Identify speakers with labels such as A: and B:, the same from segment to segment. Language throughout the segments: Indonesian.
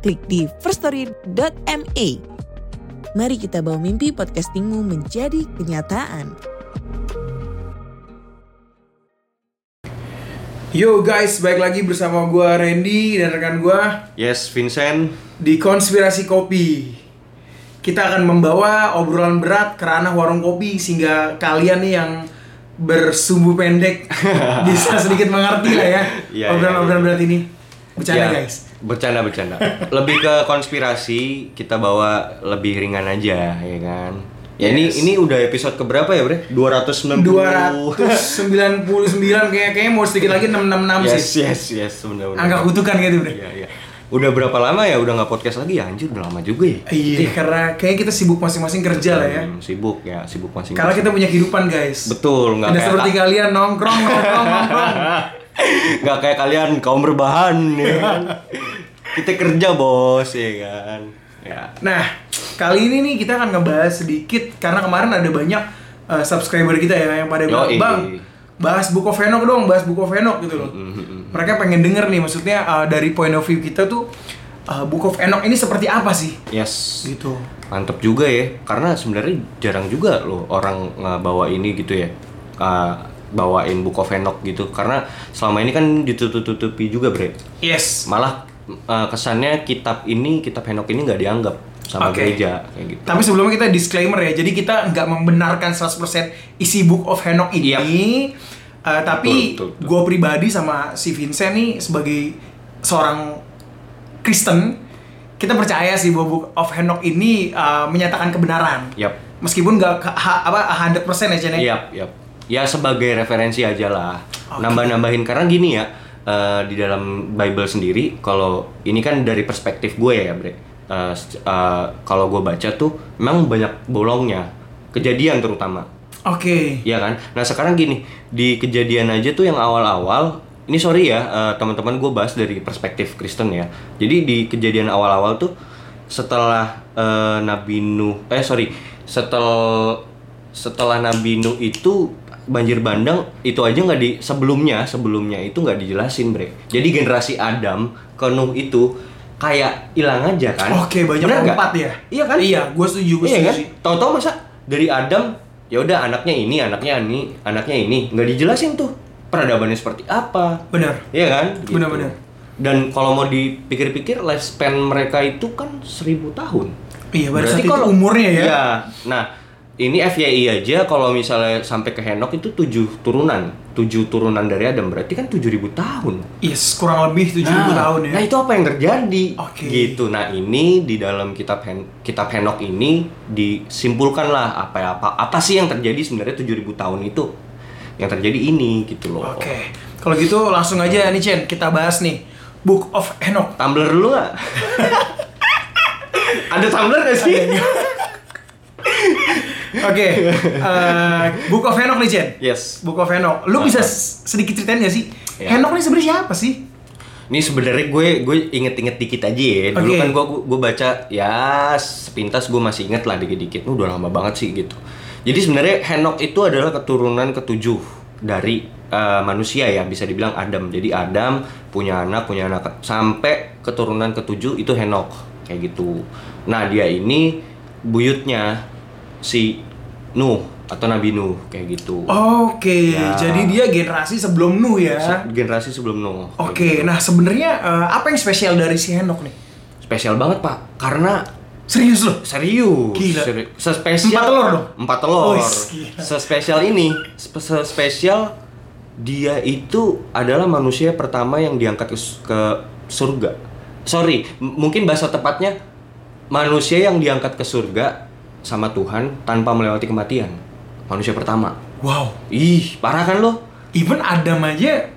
A: klik di firststory.me. Mari kita bawa mimpi podcastingmu menjadi kenyataan.
B: Yo guys, balik lagi bersama gua Randy dan rekan gua
C: Yes, Vincent.
B: di Konspirasi Kopi. Kita akan membawa obrolan berat ke ranah warung kopi sehingga kalian nih yang bersumbu pendek bisa sedikit mengerti lah ya
C: Iya,
B: obrolan-obrolan
C: iya,
B: berat ini. Bercanda
C: Ya,
B: guys.
C: Bercanda bercanda. lebih ke konspirasi kita bawa lebih ringan aja, ya kan. Ya ini ini udah episode keberapa ya, Bre? 290.
B: 299 kayak kayaknya mau sedikit lagi 666
C: Yes,
B: sih.
C: yes, yes, benar benar.
B: Angka kutukan gitu, Bre.
C: Iya, iya. Udah berapa lama ya udah nggak podcast lagi ya? Anjir, udah lama juga ya.
B: Iya, karena kayaknya kita sibuk masing-masing kerja lah ya.
C: Hmm, sibuk ya, sibuk masing-masing.
B: Karena kita punya kehidupan, guys.
C: Betul, nggak
B: Tidak
C: kayak-
B: seperti kalian nongkrong, nongkrong, nongkrong.
C: nggak kayak kalian kaum berbahan ya kan? kita kerja, Bos, ya kan. Ya.
B: Nah, kali ini nih kita akan ngebahas sedikit karena kemarin ada banyak uh, subscriber kita ya yang pada bilang,
C: Yoi.
B: "Bang, bahas Book of Enoch dong, bahas Book of Enoch" gitu loh.
C: Mm-hmm,
B: Mereka pengen denger nih maksudnya uh, dari point of view kita tuh uh, Book of Enoch ini seperti apa sih?
C: Yes.
B: Gitu.
C: Mantep juga ya, karena sebenarnya jarang juga loh orang bawa ini gitu ya, eh, bawain buku Venok gitu, karena selama ini kan ditutup-tutupi juga bre.
B: Yes.
C: Malah eh, kesannya kitab ini, kitab Venok ini nggak dianggap sama
B: Oke.
C: gereja kayak gitu.
B: Tapi sebelumnya kita disclaimer ya. Jadi kita nggak membenarkan 100% isi Book of Enoch ini. Uh, tapi
C: Iya. Betul, betul, betul.
B: gue pribadi sama si Vincent nih sebagai seorang Kristen, kita percaya sih bahwa Book of Enoch ini uh, menyatakan kebenaran.
C: Yap,
B: Meskipun nggak ke- ha- apa 100% ya Chen, ya.
C: yap, yap. Ya sebagai referensi aja lah,
B: Oke.
C: nambah-nambahin karena gini ya, eh, di dalam Bible sendiri, kalau ini kan dari perspektif gue ya bre. Eh, se- eh, kalau gue baca tuh, memang banyak bolongnya, kejadian terutama.
B: Oke.
C: Iya kan? Nah sekarang gini, di kejadian aja tuh yang awal-awal, ini sorry ya eh, teman-teman gue bahas dari perspektif Kristen ya. Jadi di kejadian awal-awal tuh setelah eh, Nabi Nuh, eh sorry, setel setelah Nabi Nuh itu banjir bandang itu aja nggak di sebelumnya sebelumnya itu nggak dijelasin bre. Jadi generasi Adam ke Nuh itu kayak hilang aja kan?
B: Oke, banyak
C: Bener nggak?
B: empat ya.
C: Iya kan?
B: Iya, gue setuju, gue
C: Iya
B: setuju
C: kan?
B: sih.
C: Tahu-tahu masa dari Adam ya udah anaknya ini, anaknya ini, anaknya ini nggak dijelasin tuh peradabannya seperti apa.
B: Bener.
C: Iya kan?
B: Benar-benar.
C: Dan kalau mau dipikir-pikir lifespan mereka itu kan seribu tahun.
B: Iya, baru
C: Berarti
B: saat itu
C: kalau
B: umurnya ya.
C: Iya. Nah, ini FYI aja kalau misalnya sampai ke Henok itu tujuh turunan, tujuh turunan dari Adam berarti kan tujuh ribu tahun.
B: Yes, kurang lebih 7000 tahun ya.
C: Nah itu apa yang terjadi?
B: Oke.
C: Gitu. Nah ini di dalam kitab Hen kitab Henok ini disimpulkanlah apa apa apa sih yang terjadi sebenarnya 7000 tahun itu yang terjadi ini gitu loh.
B: Oke, kalau gitu langsung aja nih Chen, kita bahas nih Book of Enoch.
C: Tumblr dulu nggak? Ada Tumblr nggak sih?
B: Oke, eh, Book of Enoch nih Chen.
C: yes.
B: Book of Enoch. Lu bisa s- sedikit ceritain gak sih?
C: Iya.
B: Enoch ini sebenarnya siapa sih?
C: Ini sebenarnya gue gue inget-inget dikit aja ya. Dulu
B: Oke.
C: kan gue gue baca ya sepintas gue masih inget lah dikit-dikit. Ini Udah lama banget sih gitu. Jadi sebenarnya Henok itu adalah keturunan ketujuh dari eh, manusia ya bisa dibilang Adam. Jadi Adam punya anak punya anak sampai keturunan ketujuh itu Henok kayak gitu. Nah dia ini buyutnya si Nuh atau Nabi Nuh kayak gitu.
B: Oke,
C: Ya.
B: jadi dia generasi sebelum Nuh Oh, ya.
C: Se- Generasi sebelum Nuh. kayak
B: Oke,
C: gitu.
B: nah sebenarnya eh, apa yang spesial dari si Enoch nih?
C: Spesial banget pak karena
B: Serius loh.
C: Serius.
B: Gila.
C: Seri- sespesial
B: Empat telur dong?
C: Empat telur.
B: Wih, gila.
C: Sespesial ini, spe- sespesial dia itu adalah manusia pertama yang diangkat ke, s- ke surga. Sorry, m- mungkin bahasa tepatnya manusia yang diangkat ke surga sama Tuhan tanpa melewati kematian. Manusia pertama.
B: Wow,
C: Ih, parah kan lo?
B: even Adam aja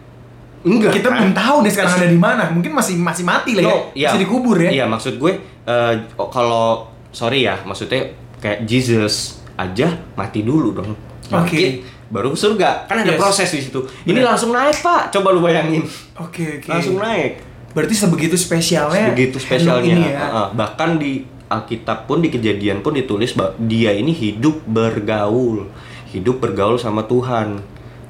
C: Enggak. kan?
B: Kita belum tahu nih sekarang ada di mana. Mungkin masih masih mati lah ya.
C: No, iya.
B: Masih dikubur ya.
C: Iya, maksud gue eh, oh, kalau sorry ya, maksudnya kayak Jesus aja mati dulu dong. Bangkit, baru ke surga. Kan ada
B: Yes.
C: proses di situ. Ini
B: Benar.
C: langsung naik, Pak. Coba lu bayangin.
B: Oke, oke.
C: Langsung naik.
B: Berarti sebegitu spesialnya.
C: Begitu
B: Enoch
C: spesialnya.
B: Ini ya.
C: Heeh. Bahkan di Alkitab pun di kejadian pun ditulis bahwa dia ini hidup bergaul. Hidup bergaul sama Tuhan.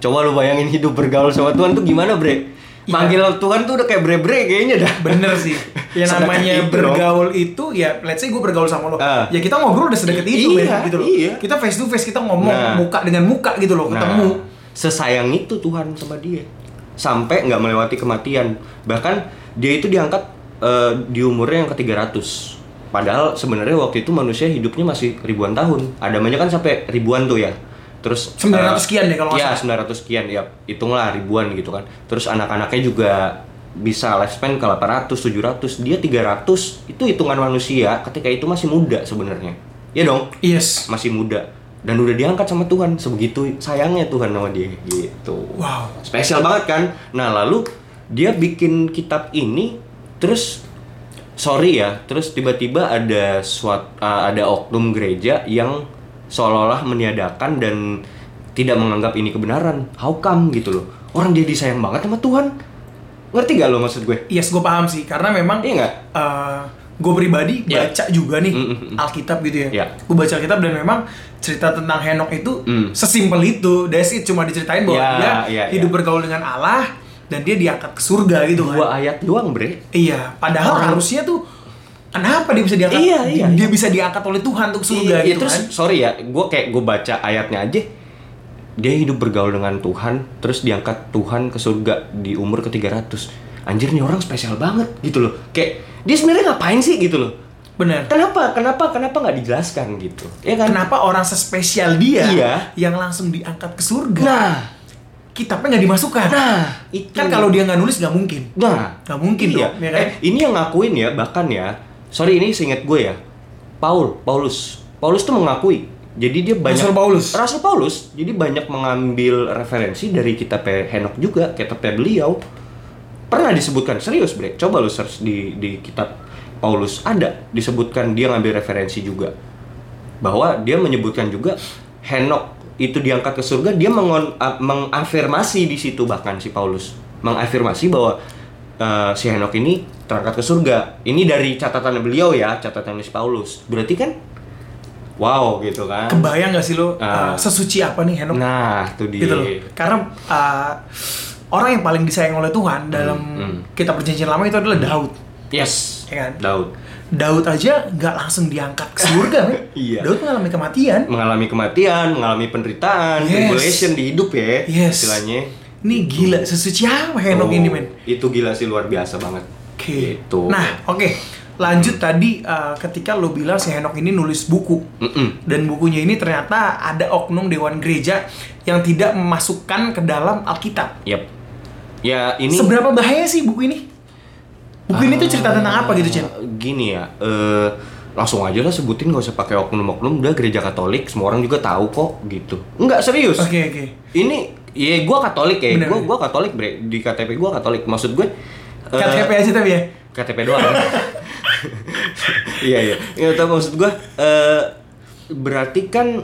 C: Coba lu bayangin hidup bergaul sama Tuhan tuh gimana, Bre?
B: Iya.
C: Manggil Tuhan tuh udah kayak bre-bre kayaknya dah.
B: Bener sih. Yang
C: Sedekat
B: namanya
C: itu,
B: bergaul itu ya, let's say gue bergaul sama lo,
C: Ah.
B: ya kita ngobrol udah sedekat itu,
C: Iya,
B: Ben, gitu loh.
C: iya.
B: Kita face to face, kita ngomong
C: Nah.
B: muka dengan muka gitu loh, ketemu.
C: Nah, sesayang itu Tuhan sama dia sampai nggak melewati kematian bahkan dia itu diangkat eh, di umurnya yang ke 300 padahal sebenarnya waktu itu manusia hidupnya masih ribuan tahun adamanya kan sampai ribuan tuh ya terus
B: 900
C: eh,
B: sekian deh kalau nggak
C: iya, 900 sekian ya hitunglah ribuan gitu kan terus anak-anaknya juga bisa lifespan ke 800 700 dia 300 itu hitungan manusia ketika itu masih muda sebenarnya ya dong
B: Yes.
C: masih muda dan udah diangkat sama Tuhan sebegitu sayangnya Tuhan sama dia gitu
B: Wow.
C: spesial banget kan nah lalu dia bikin kitab ini terus sorry ya terus tiba-tiba ada suat uh, ada oknum gereja yang seolah-olah meniadakan dan tidak menganggap ini kebenaran how come gitu loh orang dia disayang banget sama Tuhan ngerti gak lo maksud gue
B: Yes, gue paham sih, karena memang
C: iya nggak
B: gue pribadi
C: Iya.
B: baca juga nih
C: Mm, mm, mm.
B: Alkitab gitu ya.
C: Iya.
B: Gue baca Alkitab dan memang cerita tentang Henok itu
C: Mm.
B: sesimpel itu. That's it, cuma diceritain bahwa
C: Iya,
B: dia
C: iya,
B: hidup
C: iya.
B: bergaul dengan Allah dan dia diangkat ke surga gitu kan.
C: dua ayat doang bre
B: Iya, padahal
C: Orang-
B: harusnya tuh kenapa dia bisa diangkat?
C: Iya, iya,
B: Dia bisa diangkat oleh Tuhan untuk surga
C: Iya,
B: gitu
C: terus
B: kan?
C: sorry ya, gue kayak gue baca ayatnya aja. Dia hidup bergaul dengan Tuhan, terus diangkat Tuhan ke surga di umur ke 300. Anjir nih orang spesial banget gitu loh. Kayak dia sebenarnya ngapain sih gitu loh?
B: Bener.
C: Kenapa? Kenapa? Kenapa nggak dijelaskan gitu? Ya kan?
B: Kenapa orang sespesial dia
C: Iya.
B: yang langsung diangkat ke surga?
C: Nah,
B: kitabnya nggak dimasukkan.
C: nah itu.
B: kan kalau dia nggak nulis nggak mungkin.
C: Nah,
B: Nggak mungkin
C: iya.
B: dong, ya kan?
C: Eh, ini yang ngakuin ya, bahkan ya. Sorry ini seingat gue ya. Paul, Paulus. Paulus tuh mengakui. Jadi dia banyak
B: Rasul Paulus.
C: Rasul Paulus. Jadi banyak mengambil referensi dari kitab Henok juga, kitabnya beliau. Pernah disebutkan serius, Bre. Coba lu search di di kitab Paulus ada disebutkan dia ngambil referensi juga. Bahwa dia menyebutkan juga Henok itu diangkat ke surga, dia mengon- a- mengafirmasi di situ bahkan si Paulus mengafirmasi bahwa eh, si Henok ini terangkat ke surga. Ini dari catatan beliau ya, catatan si Paulus. Berarti kan wow gitu kan.
B: Kebayang nggak sih lo
C: Ah.
B: uh, sesuci apa nih Henok?
C: Nah, itu dia.
B: Gitu loh. Karena uh, orang yang paling disayang oleh Tuhan dalam
C: hmm.
B: kitab perjanjian lama itu adalah Daud.
C: Yes.
B: Ya kan?
C: Daud
B: Daud aja nggak langsung diangkat ke surga. men.
C: Iya.
B: Daud mengalami kematian.
C: mengalami kematian, mengalami penderitaan,
B: Yes.
C: tribulation di hidup ya
B: Yes.
C: istilahnya.
B: Ini
C: Gitu.
B: gila, sesuci apa Henok
C: Oh,
B: ini men?
C: Itu gila sih luar biasa banget.
B: Oke.
C: Gitu.
B: Nah, oke. Lanjut tadi uh, ketika lo bilang si Henok ini nulis buku.
C: Mm-mm.
B: Dan bukunya ini ternyata ada oknum dewan gereja yang tidak memasukkan ke dalam Alkitab.
C: Yep. Ya ini
B: Seberapa bahaya sih buku ini? Buku ini tuh cerita tentang apa gitu, Cen?
C: eh, Gini ya, eh, langsung aja lah sebutin nggak usah pakai oknum-oknum, udah gereja Katolik, semua orang juga tahu kok gitu. Enggak serius.
B: Oke, oke.
C: Ini ya gua Katolik ya,
B: Bener.
C: gua gua Katolik bre di KTP gua Katolik. Maksud gue eh,
B: KTP aja tapi ya.
C: KTP doang. Iya iya. Nggak tahu maksud gua eh, berarti kan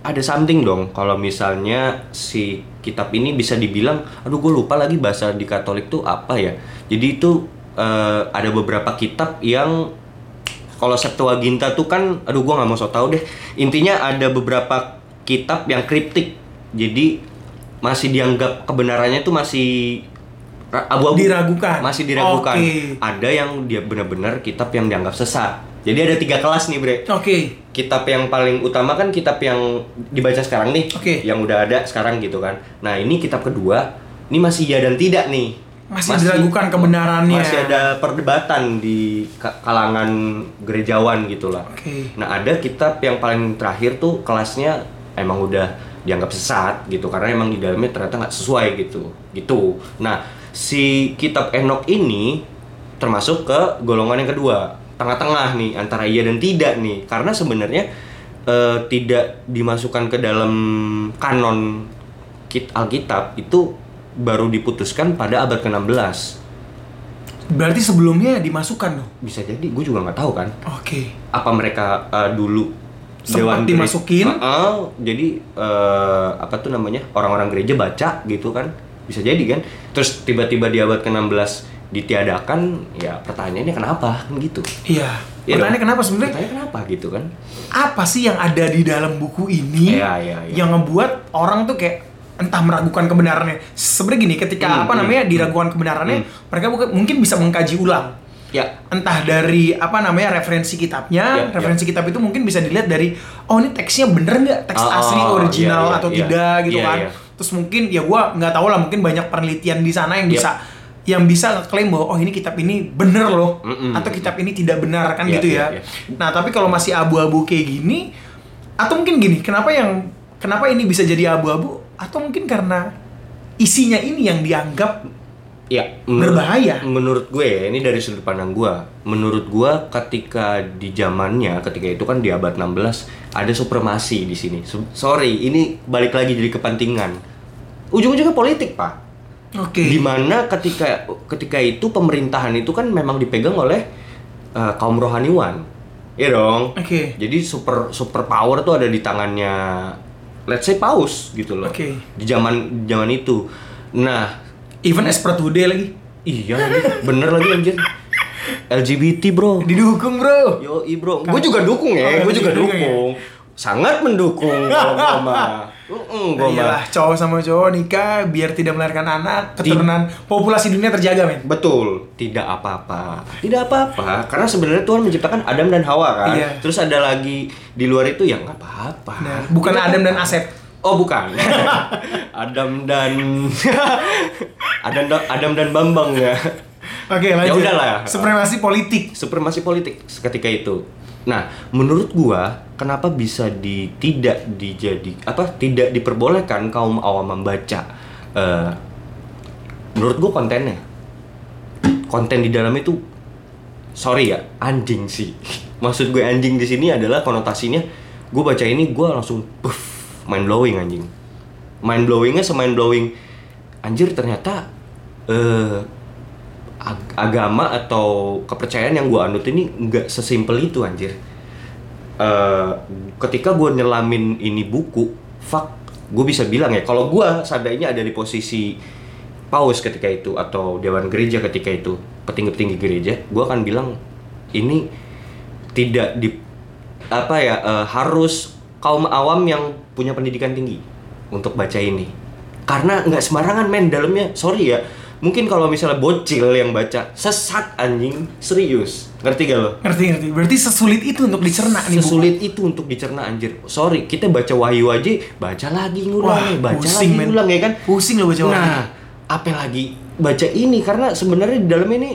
C: ada something dong kalau misalnya si kitab ini bisa dibilang aduh gue lupa lagi bahasa di Katolik tuh apa ya. Jadi itu eh, ada beberapa kitab yang kalau Septuaginta tuh kan aduh gua nggak mau so tau deh. Intinya ada beberapa kitab yang kriptik. Jadi masih dianggap kebenarannya tuh masih ra- abu-abu
B: Diragukan.
C: oh, masih diragukan
B: Oke.
C: ada yang dia benar-benar kitab yang dianggap sesat. Jadi ada tiga kelas nih bre.
B: Oke.
C: Kitab yang paling utama kan kitab yang dibaca sekarang nih,
B: Oke.
C: yang udah ada sekarang gitu kan. Nah ini kitab kedua, ini masih ya dan tidak nih.
B: Masih diragukan kebenarannya.
C: Masih ada perdebatan di ka- kalangan gerejawan gitulah.
B: Oke.
C: Nah ada kitab yang paling terakhir tuh kelasnya emang udah dianggap sesat gitu karena emang di dalamnya ternyata nggak sesuai gitu gitu. Nah si kitab Enok ini termasuk ke golongan yang kedua tengah-tengah nih antara iya dan tidak nih karena sebenarnya eh, tidak dimasukkan ke dalam kanon kit Alkitab itu baru diputuskan pada abad ke-16.
B: Berarti sebelumnya dimasukkan dong.
C: Bisa jadi, gue juga nggak tahu kan.
B: Oke.
C: Apa mereka eh, dulu
B: Sempat
C: gere-
B: dimasukin?
C: Heeh, jadi eh, apa tuh namanya orang-orang gereja baca gitu kan? Bisa jadi kan. Terus tiba-tiba di abad ke-16 ditiadakan, ya pertanyaannya kenapa kan gitu?
B: Iya.
C: Iya dong.
B: Pertanyaannya kenapa sebenarnya?
C: Pertanyaannya kenapa gitu kan?
B: Apa sih yang ada di dalam buku ini
C: Iya, iya, iya.
B: yang ngebuat orang tuh kayak entah meragukan kebenarannya. Sebenarnya gini, ketika
C: Hmm,
B: apa
C: hmm,
B: namanya diragukan kebenarannya, mereka buka- mungkin bisa mengkaji ulang.
C: Ya,
B: Entah dari apa namanya referensi
C: Ya,
B: kitabnya,
C: ya.
B: referensi kitab itu mungkin bisa dilihat dari oh ini teksnya bener nggak teks
C: Oh,
B: asli
C: oh,
B: original
C: iya, iya,
B: atau
C: iya.
B: tidak gitu
C: Iya,
B: kan.
C: iya.
B: Terus mungkin ya gua nggak tahu lah mungkin banyak penelitian di sana yang
C: Iya.
B: bisa yang bisa klaim bahwa oh ini kitab ini bener loh
C: Mm-mm.
B: atau kitab ini tidak benar kan
C: Iya,
B: gitu
C: iya,
B: ya.
C: iya.
B: Nah, tapi kalau masih abu-abu kayak gini atau mungkin gini, kenapa yang kenapa ini bisa jadi abu-abu atau mungkin karena isinya ini yang dianggap
C: Ya,
B: Berbahaya.
C: Menurut gue ya, ini dari sudut pandang gue. Menurut gue ketika di zamannya, ketika itu kan di abad 16 ada supremasi di sini. Se- Sorry, ini balik lagi jadi kepentingan. Ujung-ujungnya politik, Pak.
B: oke
C: Di mana ketika ketika itu pemerintahan itu kan memang dipegang oleh eh, kaum rohaniwan. Iya dong.
B: Oke.
C: Jadi super super power tuh ada di tangannya let's say paus gitu loh.
B: Oke.
C: Di zaman zaman itu. Nah,
B: even as per today lagi
C: Iya lagi, bener lagi anjir. LGBT bro.
B: didukung, Bro.
C: Yo bro, gue juga dukung ya, gue juga dukung. Sangat mendukung gue mah. Gue mah.
B: Iyalah, cowok sama cowok nikah biar tidak melahirkan anak, keturunan
C: Iya.
B: populasi dunia terjaga, men.
C: Betul, tidak apa-apa. Tidak apa-apa, karena sebenarnya Tuhan menciptakan Adam dan Hawa kan.
B: Iya.
C: Terus ada lagi di luar itu ya nggak apa-apa.
B: Nah, bukan
C: Tidak
B: Adam dan
C: apa-apa.
B: Asep.
C: Oh bukan. Adam dan Adam dan Adam dan Bambang ya.
B: Oke, lanjut.
C: udahlah.
B: Supremasi politik.
C: supremasi politik ketika itu. Nah, menurut gua kenapa bisa di tidak dijadi apa tidak diperbolehkan kaum awam membaca? Eh, menurut gua kontennya, konten di dalam itu sorry ya anjing sih. Maksud gue anjing di sini adalah konotasinya gue baca ini gua langsung puff, mind blowing anjing. Mind blowingnya semain blowing anjir ternyata eh ag- agama atau kepercayaan yang gue anut ini nggak sesimpel itu anjir. Eh, ketika gue nyelamin ini buku, fuck, gue bisa bilang ya kalau gue seandainya ada di posisi paus ketika itu atau dewan gereja ketika itu petinggi-petinggi gereja, gue akan bilang ini tidak di apa ya eh, harus kaum awam yang punya pendidikan tinggi untuk baca ini karena nggak sembarangan men dalamnya sorry ya mungkin kalau misalnya bocil yang baca sesat anjing serius ngerti gak lo
B: Ngerti, ngerti. Berarti sesulit itu untuk dicerna nih, Bu.
C: sesulit itu untuk dicerna anjir sorry kita baca wahyu aja baca lagi
B: Wah,
C: ngulang baca
B: pusing,
C: lagi
B: men.
C: ngulang ya kan
B: Pusing lo baca
C: nah
B: wahyu.
C: apa lagi baca ini karena sebenarnya di dalam ini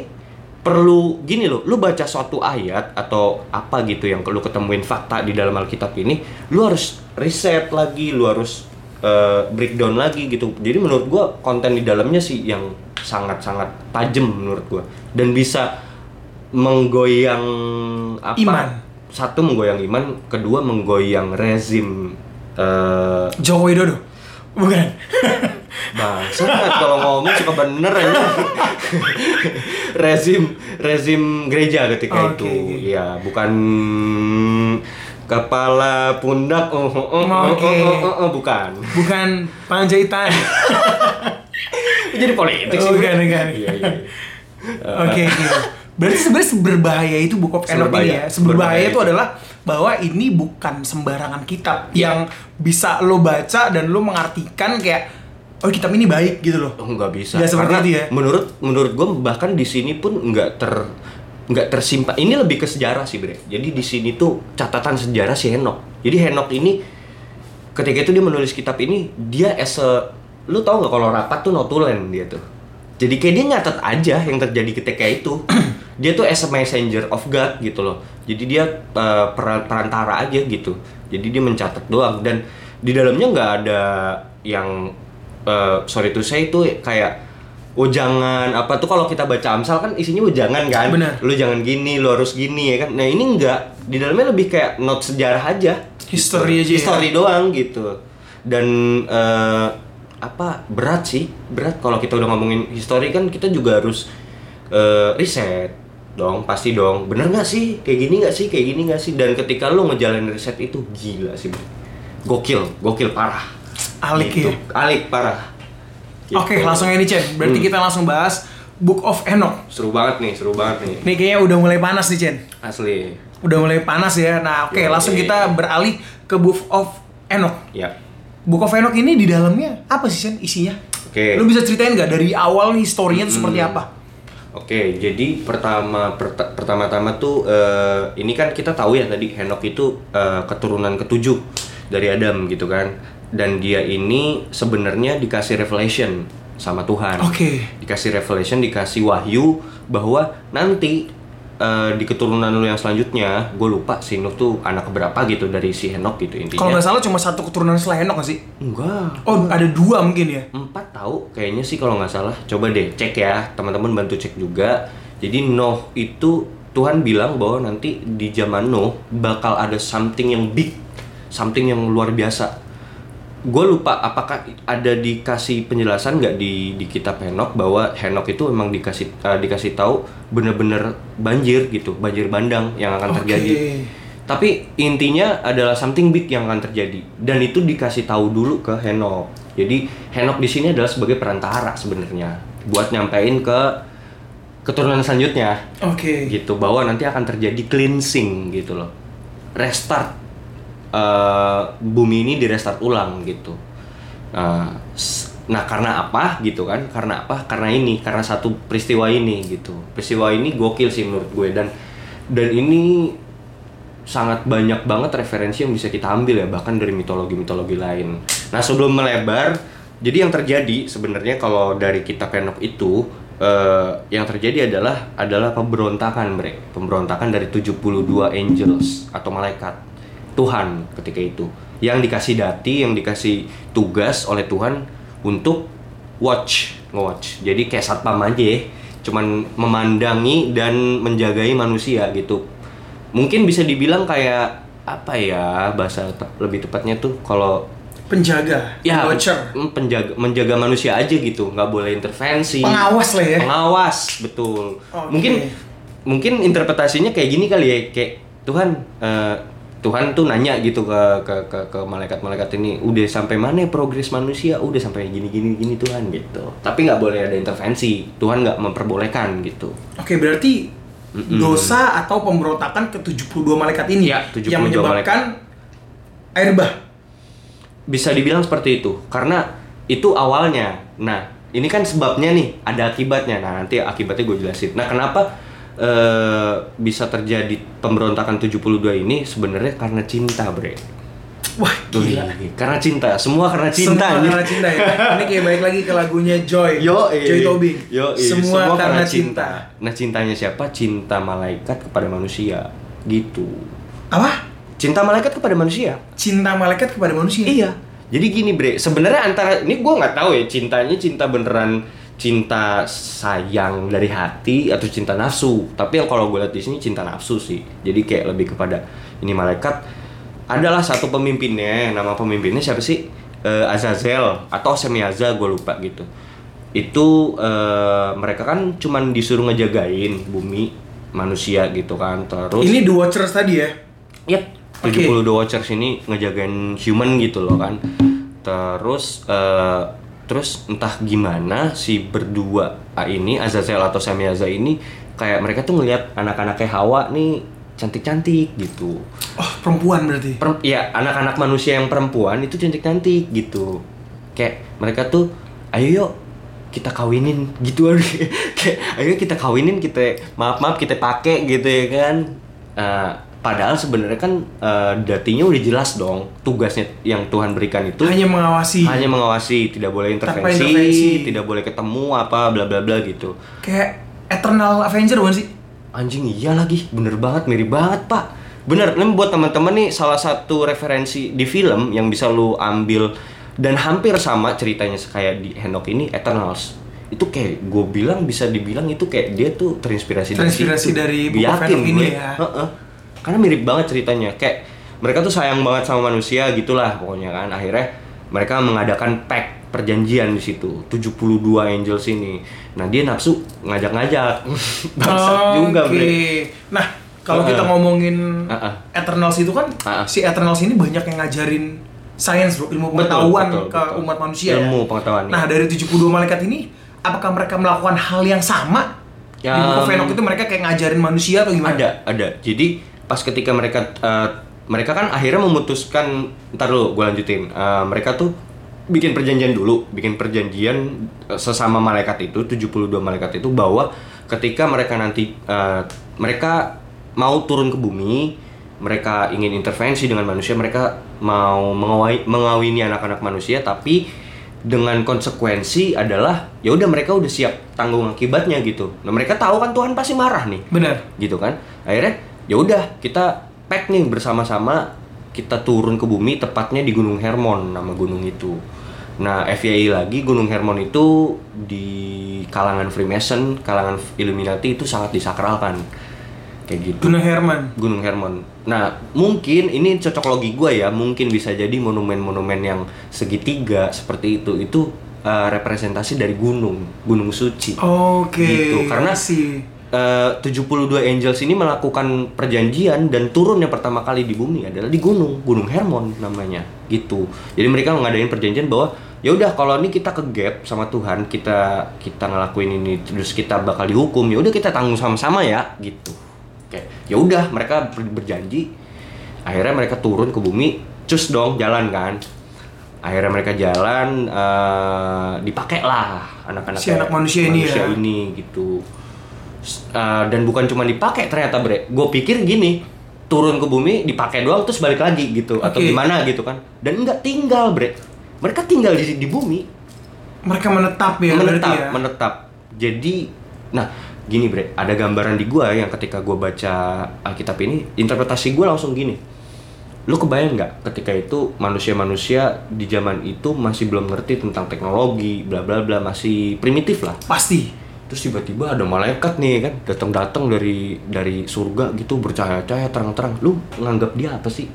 C: perlu gini loh lu baca suatu ayat atau apa gitu yang lu ketemuin fakta di dalam Alkitab ini lu harus riset lagi lu harus eh, breakdown lagi gitu jadi menurut gua konten di dalamnya sih yang sangat-sangat tajam menurut gua dan bisa menggoyang apa
B: Iman.
C: satu menggoyang iman kedua menggoyang rezim eh,
B: Joko Widodo. Bukan.
C: Bangsat Nah, kalau ngomong suka bener ya. rezim rezim gereja
B: Oke,
C: ketika itu.
B: oke.
C: Ya, bukan kepala pundak oh, oh, oh, oh,
B: Oke.
C: oh, oh, oh, oh, bukan.
B: Bukan Panjaitan.
C: Jadi politik sih.
B: Oh, bukan, bukan.
C: Iya, iya.
B: Oke, oke. Berarti sebenarnya seberbahaya itu Book of Enoch
C: Seberbahaya.
B: ini ya. Seberbahaya
C: Seberbahaya
B: itu
C: itu. Iya.
B: adalah bahwa ini bukan sembarangan kitab yang bisa lo baca dan lo mengartikan kayak oh kitab ini baik gitu loh.
C: Oh, nggak bisa.
B: Nggak seperti
C: Karena
B: itu ya?
C: Menurut menurut gue bahkan di sini pun nggak ter nggak tersimpan. Ini lebih ke sejarah sih bre. Jadi di sini tuh catatan sejarah si Henok. Jadi Henok ini ketika itu dia menulis kitab ini dia as a lu tau nggak kalau rapat tuh notulen dia tuh. Jadi kayak dia nyatet aja yang terjadi ketika itu. dia tuh as a messenger of God gitu loh. Jadi dia eh, peran- perantara aja gitu. Jadi dia mencatat doang dan di dalamnya nggak ada yang eh sorry to say itu kayak ujangan apa tuh kalau kita baca Amsal kan isinya ujangan kan
B: Benar.
C: lu jangan gini lu harus gini ya kan nah ini enggak di dalamnya lebih kayak not sejarah aja
B: History aja ya.
C: history doang gitu dan eh, apa berat sih berat kalau kita udah ngomongin histori kan kita juga harus eh, riset dong pasti dong bener nggak sih kayak gini nggak sih kayak gini nggak sih dan ketika lu ngejalanin riset itu gila sih Bro. gokil gokil parah
B: Alik
C: Gitu.
B: ya?
C: alik parah Gitu. Hmm.
B: Oke, langsung aja nih Chen. Berarti kita langsung bahas Book of Enoch.
C: seru banget nih seru banget nih
B: Nih kayaknya udah mulai panas nih Chen.
C: asli
B: Udah mulai panas ya. Nah, oke,
C: Yoi.
B: langsung
C: iya.
B: kita beralih ke Book of Enoch.
C: ya
B: Book of Enoch ini di dalamnya apa sih Chen isinya?
C: Oke. Hmm.
B: Lu bisa ceritain nggak dari awal nih historinya tuh seperti apa?
C: Oke, jadi pertama perta- pertama-tama tuh eh, ini kan kita tahu ya tadi Henok itu eh, keturunan ketujuh dari Adam gitu kan. Dan dia ini sebenarnya dikasih revelation sama Tuhan.
B: Oke.
C: Dikasih revelation, dikasih wahyu bahwa nanti eh, di keturunan lu yang selanjutnya, gue lupa si Nuh tuh anak berapa gitu dari si Henok gitu
B: Kalau
C: intinya.
B: nggak salah cuma satu keturunan setelah Enoch nggak sih?
C: Enggak.
B: Oh, ada dua mungkin ya.
C: empat tahu kayaknya sih kalau nggak salah coba deh cek ya teman-teman bantu cek juga jadi Noh itu Tuhan bilang bahwa nanti di zaman Noh bakal ada something yang big something yang luar biasa gue lupa apakah ada dikasih penjelasan nggak di di kitab Henok bahwa Henok itu emang dikasih eh, dikasih tahu bener-bener banjir gitu banjir bandang yang akan
B: Oke.
C: terjadi tapi intinya adalah something big yang akan terjadi dan itu dikasih tahu dulu ke Henok. Jadi Henok di sini adalah sebagai perantara sebenarnya buat nyampein ke keturunan selanjutnya
B: Oke.
C: gitu bahwa nanti akan terjadi cleansing gitu loh. Restart eh, bumi ini di restart ulang gitu. Nah, s- nah karena apa gitu kan? Karena apa? Karena ini, karena satu peristiwa ini gitu. Peristiwa ini gokil sih menurut gue dan dan ini sangat banyak banget referensi yang bisa kita ambil ya bahkan dari mitologi-mitologi lain. Nah sebelum melebar, jadi yang terjadi sebenarnya kalau dari kitab Henok itu eh, yang terjadi adalah adalah pemberontakan mereka, pemberontakan dari 72 angels atau malaikat Tuhan ketika itu yang dikasih dati, yang dikasih tugas oleh Tuhan untuk watch, nge-watch. Jadi kayak satpam aja, ya, cuman memandangi dan menjagai manusia gitu mungkin bisa dibilang kayak apa ya bahasa tep- lebih tepatnya tuh kalau
B: Penjaga.
C: ya
B: Watcher.
C: mm, penjaga menjaga manusia aja gitu nggak boleh intervensi
B: Pengawas lah ya.
C: pengawas betul
B: Oke.
C: mungkin mungkin interpretasinya kayak gini kali ya kayak Tuhan eh, Tuhan tuh nanya gitu ke ke ke, ke malaikat-malaikat ini udah sampai mana ya progres manusia udah sampai gini gini gini Tuhan gitu tapi nggak boleh ada intervensi Tuhan nggak memperbolehkan gitu
B: Oke, berarti dosa atau pemberontakan ke 72 malaikat ini
C: Iya, 72
B: yang menyebabkan air bah.
C: bisa dibilang seperti itu karena itu awalnya nah ini kan sebabnya nih ada akibatnya nah nanti akibatnya gue jelasin nah kenapa eh, bisa terjadi pemberontakan 72 ini sebenarnya karena cinta bre
B: Wah, gila.
C: Wih, karena cinta semua karena cinta
B: Semua
C: anjir.
B: karena cinta ya. Ini kayak balik lagi ke lagunya Joy.
C: Yo, eh.
B: Joy Tobing.
C: Yo, eh.
B: Semua, karena, cinta.
C: Nah, cintanya siapa? Cinta malaikat kepada manusia. Gitu.
B: Apa?
C: Cinta malaikat kepada manusia.
B: Cinta malaikat kepada manusia.
C: Iya. Jadi gini Bre, sebenarnya antara ini gua nggak tahu ya cintanya cinta beneran cinta sayang dari hati atau cinta nafsu. Tapi yang kalau gue lihat di sini cinta nafsu sih. Jadi kayak lebih kepada ini malaikat adalah satu pemimpinnya. Nama pemimpinnya siapa sih? Eh, Azazel atau Semiaza gue lupa gitu. Itu eh, mereka kan cuman disuruh ngejagain bumi manusia gitu kan. Terus
B: Ini The Watchers tadi ya.
C: Yap.
B: Oke.
C: 72 Watchers ini ngejagain human gitu loh kan. Terus eh, terus entah gimana si berdua ah, ini Azazel atau Samiaza ini kayak mereka tuh ngelihat anak-anak kayak Hawa nih cantik-cantik gitu.
B: Oh, perempuan berarti.
C: Per- ya anak-anak manusia yang perempuan itu cantik-cantik gitu. Kayak mereka tuh ayo yuk kita kawinin gitu kayak ayo kita kawinin kita maaf maaf kita pakai gitu ya kan Eh, padahal sebenarnya kan eh, datinya udah jelas dong tugasnya yang Tuhan berikan itu
B: Hanya mengawasi.
C: hanya mengawasi tidak boleh
B: Tanpa
C: intervensi,
B: intervensi.
C: tidak boleh ketemu apa bla bla bla gitu
B: Kayak Eternal Avenger bukan sih?
C: Anjing iya lagi, bener banget, mirip banget pak Bener, ini buat teman-teman nih salah satu referensi di film yang bisa lu ambil Dan hampir sama ceritanya kayak di Henok ini, Eternals Itu kayak gue bilang, bisa dibilang itu kayak dia tuh terinspirasi
B: Terinspirasi dari buku
C: Yakin
B: Henok ini
C: gue.
B: ya.
C: Heeh. Karena mirip banget ceritanya, kayak mereka tuh sayang banget sama manusia gitulah pokoknya kan Akhirnya mereka mengadakan pact perjanjian di situ 72 angels ini nah dia nafsu ngajak-ngajak bangsat juga
B: Oh, Oke.
C: bre
B: Nah, kalau
C: Heeh.
B: kita ngomongin
C: Heeh.
B: Eternals itu kan
C: Heeh.
B: si Eternals ini banyak yang ngajarin sains, bro, ilmu pengetahuan
C: betul,
B: ke
C: betul.
B: umat manusia ya.
C: Ilmu pengetahuan, iya.
B: Nah, dari 72 malaikat ini apakah mereka melakukan hal yang sama?
C: Ya,
B: Di buku Venok itu mereka kayak ngajarin manusia atau gimana?
C: ada ada jadi pas ketika mereka eh, mereka kan akhirnya memutuskan ntar dulu gue lanjutin Eh, mereka tuh bikin perjanjian dulu bikin perjanjian eh, sesama malaikat itu 72 malaikat itu bahwa ketika mereka nanti eh, mereka mau turun ke bumi mereka ingin intervensi dengan manusia mereka mau mengawai- mengawini anak-anak manusia tapi dengan konsekuensi adalah ya udah mereka udah siap tanggung akibatnya gitu nah mereka tahu kan Tuhan pasti marah nih
B: Benar.
C: gitu kan akhirnya ya udah kita pack nih bersama-sama kita turun ke bumi tepatnya di Gunung Hermon nama gunung itu nah FYI lagi Gunung Hermon itu di kalangan Freemason kalangan Illuminati itu sangat disakralkan kayak gitu
B: Duna Herman.
C: Gunung Hermon. Nah, mungkin ini cocok logi gue ya, mungkin bisa jadi monumen-monumen yang segitiga seperti itu itu eh, representasi dari gunung, gunung suci.
B: Oke.
C: Gitu, karena-
B: sih
C: Eh, 72 Angels ini melakukan perjanjian dan turun yang pertama kali di bumi adalah di gunung, Gunung Hermon namanya. Gitu. Jadi mereka ngadain perjanjian bahwa ya udah kalau ini kita ke gap sama Tuhan, kita kita ngelakuin ini terus kita bakal dihukum, ya udah kita tanggung sama-sama ya, gitu. Oke. Ya udah mereka ber- berjanji akhirnya mereka turun ke bumi, cus dong jalan kan. Akhirnya mereka jalan eh dipakai lah anak-anak
B: Si anak manusia ini ya.
C: ini gitu S- uh, dan bukan cuma dipakai ternyata bre gue pikir gini turun ke bumi dipakai doang terus balik lagi gitu atau
B: Oke.
C: gimana gitu kan dan nggak tinggal bre mereka tinggal di di bumi
B: mereka menetap ya
C: menetap
B: berarti ya.
C: menetap jadi nah gini bre ada gambaran di gua yang ketika gua baca alkitab ini interpretasi gua langsung gini lu kebayang nggak ketika itu manusia-manusia di zaman itu masih belum ngerti tentang teknologi bla bla bla masih primitif lah
B: Pasti.
C: terus tiba-tiba ada malaikat nih kan datang-datang dari dari surga gitu bercahaya-cahaya terang-terang lu nganggap dia apa sih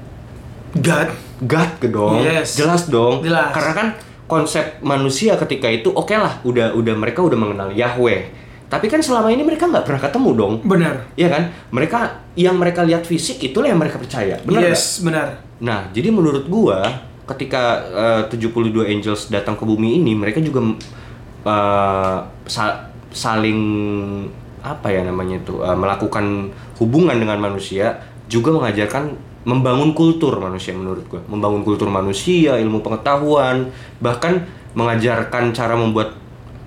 B: God.
C: God ke dong
B: Yes.
C: jelas dong
B: Jelas.
C: karena kan konsep manusia ketika itu oke lah udah udah mereka udah mengenal Yahweh tapi kan selama ini mereka nggak pernah ketemu dong
B: Mm. Benar.
C: Iya kan mereka yang mereka lihat fisik itulah yang mereka percaya benar nggak?
B: yes, benar.
C: Nah, jadi menurut gua ketika eh, 72 Angels datang ke bumi ini, mereka juga eh, sa- saling apa ya namanya itu eh, melakukan hubungan dengan manusia, juga mengajarkan membangun kultur manusia menurut gua, membangun kultur manusia, ilmu pengetahuan, bahkan mengajarkan cara membuat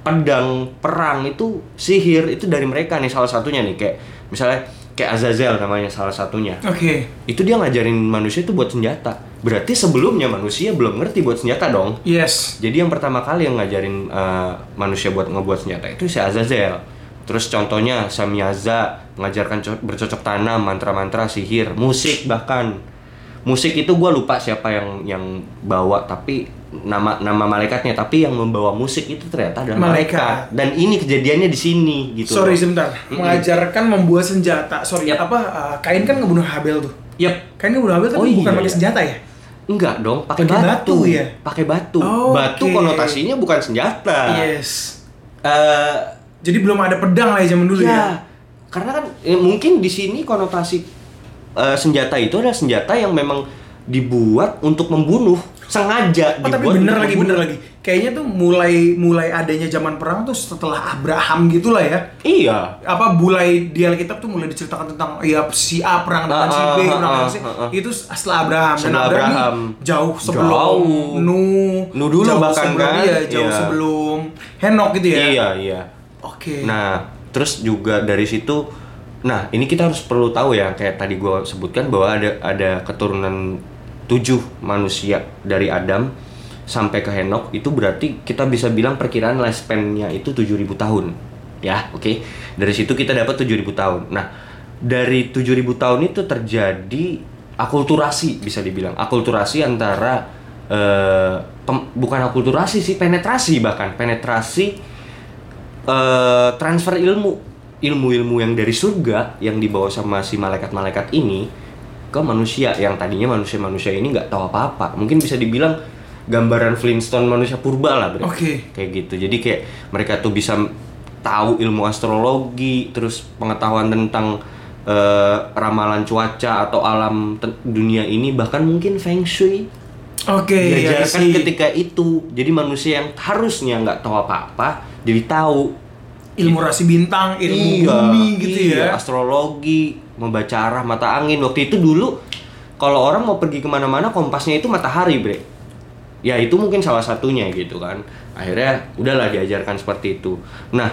C: pedang perang itu sihir itu dari mereka nih salah satunya nih kayak misalnya kayak Azazel namanya salah satunya
B: Oke.
C: itu dia ngajarin manusia itu buat senjata. Berarti sebelumnya manusia belum ngerti buat senjata dong.
B: Yes.
C: Jadi yang pertama kali yang ngajarin eh, manusia buat ngebuat senjata itu si Azazel. Terus contohnya Samyaza mengajarkan co- bercocok tanam, mantra-mantra, sihir, musik bahkan. Musik itu gue lupa siapa yang yang bawa tapi nama nama malaikatnya tapi yang membawa musik itu ternyata adalah malaikat.
B: Malaikat.
C: Dan ini kejadiannya di sini gitu.
B: Sorry
C: loh.
B: sebentar.
C: Mm-mm.
B: Mengajarkan membuat senjata. Sorry,
C: Yap.
B: apa uh, Kain kan ngebunuh Habel tuh.
C: Yep.
B: Kain ngebunuh Habel tapi
C: Oh,
B: bukan
C: iya,
B: pakai
C: iya.
B: senjata ya?
C: Enggak dong, pakai
B: Pakai
C: batu.
B: batu ya?
C: Pakai batu.
B: Oh,
C: batu
B: oke. Iya.
C: konotasinya bukan senjata.
B: Yes.
C: Eh,
B: Jadi belum ada pedang lah ya zaman dulu ya.
C: ya, karena kan eh, mungkin di sini konotasi eh, senjata itu adalah senjata yang memang dibuat untuk membunuh, sengaja
B: Oh, tapi
C: dibuat
B: bener
C: untuk
B: lagi,
C: membunuh.
B: bener lagi. Kayaknya tuh mulai mulai adanya zaman perang tuh setelah Abraham gitulah ya.
C: Iya.
B: Apa mulai di Alkitab tuh mulai diceritakan tentang ya si A perang dengan
C: Ah,
B: si B,
C: ah,
B: perang dengan
C: ah,
B: si
C: ah, ah.
B: itu setelah Abraham. Dan
C: Setelah
B: Abraham, ini
C: Abraham.
B: jauh sebelum
C: Jauh.
B: Nuh,
C: Nuh dulu
B: jauh
C: bahkan
B: sebelum,
C: kan?
B: Iya, jauh
C: Iya.
B: sebelum Henok gitu ya.
C: Iya, iya.
B: Oke.
C: Nah, terus juga dari situ nah, ini kita harus perlu tahu ya kayak tadi gua sebutkan bahwa ada ada keturunan tujuh manusia dari Adam sampai ke Henok itu berarti kita bisa bilang perkiraan lifespan-nya itu 7000 tahun. Ya, oke. Dari situ kita dapat 7000 tahun. Nah, dari 7000 tahun itu terjadi akulturasi bisa dibilang. Akulturasi antara eh, pem- bukan akulturasi sih, penetrasi bahkan penetrasi eh, transfer ilmu ilmu-ilmu yang dari surga yang dibawa sama si malaikat-malaikat ini ke manusia yang tadinya manusia-manusia ini nggak tahu apa-apa mungkin bisa dibilang gambaran Flintstone manusia purba lah berarti.
B: Oke.
C: Kayak gitu. Jadi kayak mereka tuh bisa tahu ilmu astrologi, terus pengetahuan tentang eh, ramalan cuaca atau alam ten- dunia ini bahkan mungkin feng shui
B: Oke, ya, I
C: iya, diajarkan
B: see.
C: ketika itu. Jadi manusia yang harusnya nggak tahu apa-apa jadi tahu.
B: ilmu rasi bintang, ilmu bumi gitu
C: iya,
B: ya.
C: Astrologi, membaca arah mata angin. Waktu itu dulu kalau orang mau pergi kemana-mana kompasnya itu matahari, bre. Ya itu mungkin salah satunya gitu kan. Akhirnya udahlah diajarkan seperti itu. Nah,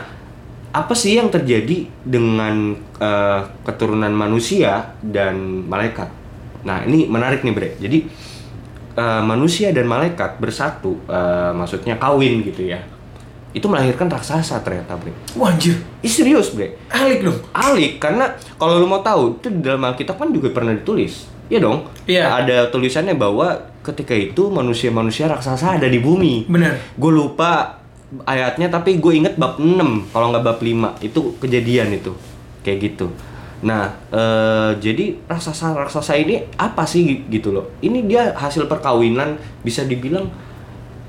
C: apa sih yang terjadi dengan eh, keturunan manusia dan malaikat? Nah ini menarik nih bre. Jadi eh, manusia dan malaikat bersatu, eh, maksudnya kawin gitu ya. Itu melahirkan raksasa ternyata bre.
B: Wah anjir,
C: Ih serius bre
B: alik dong.
C: alik karena kalau lu mau tahu itu di dalam Alkitab kan juga pernah ditulis ya dong
B: Iya.
C: ada tulisannya bahwa ketika itu manusia-manusia raksasa ada di bumi
B: Bener.
C: gue lupa ayatnya tapi gue inget bab 6 kalau nggak bab 5 itu kejadian itu kayak gitu nah eh, jadi raksasa raksasa ini apa sih gitu loh ini dia hasil perkawinan bisa dibilang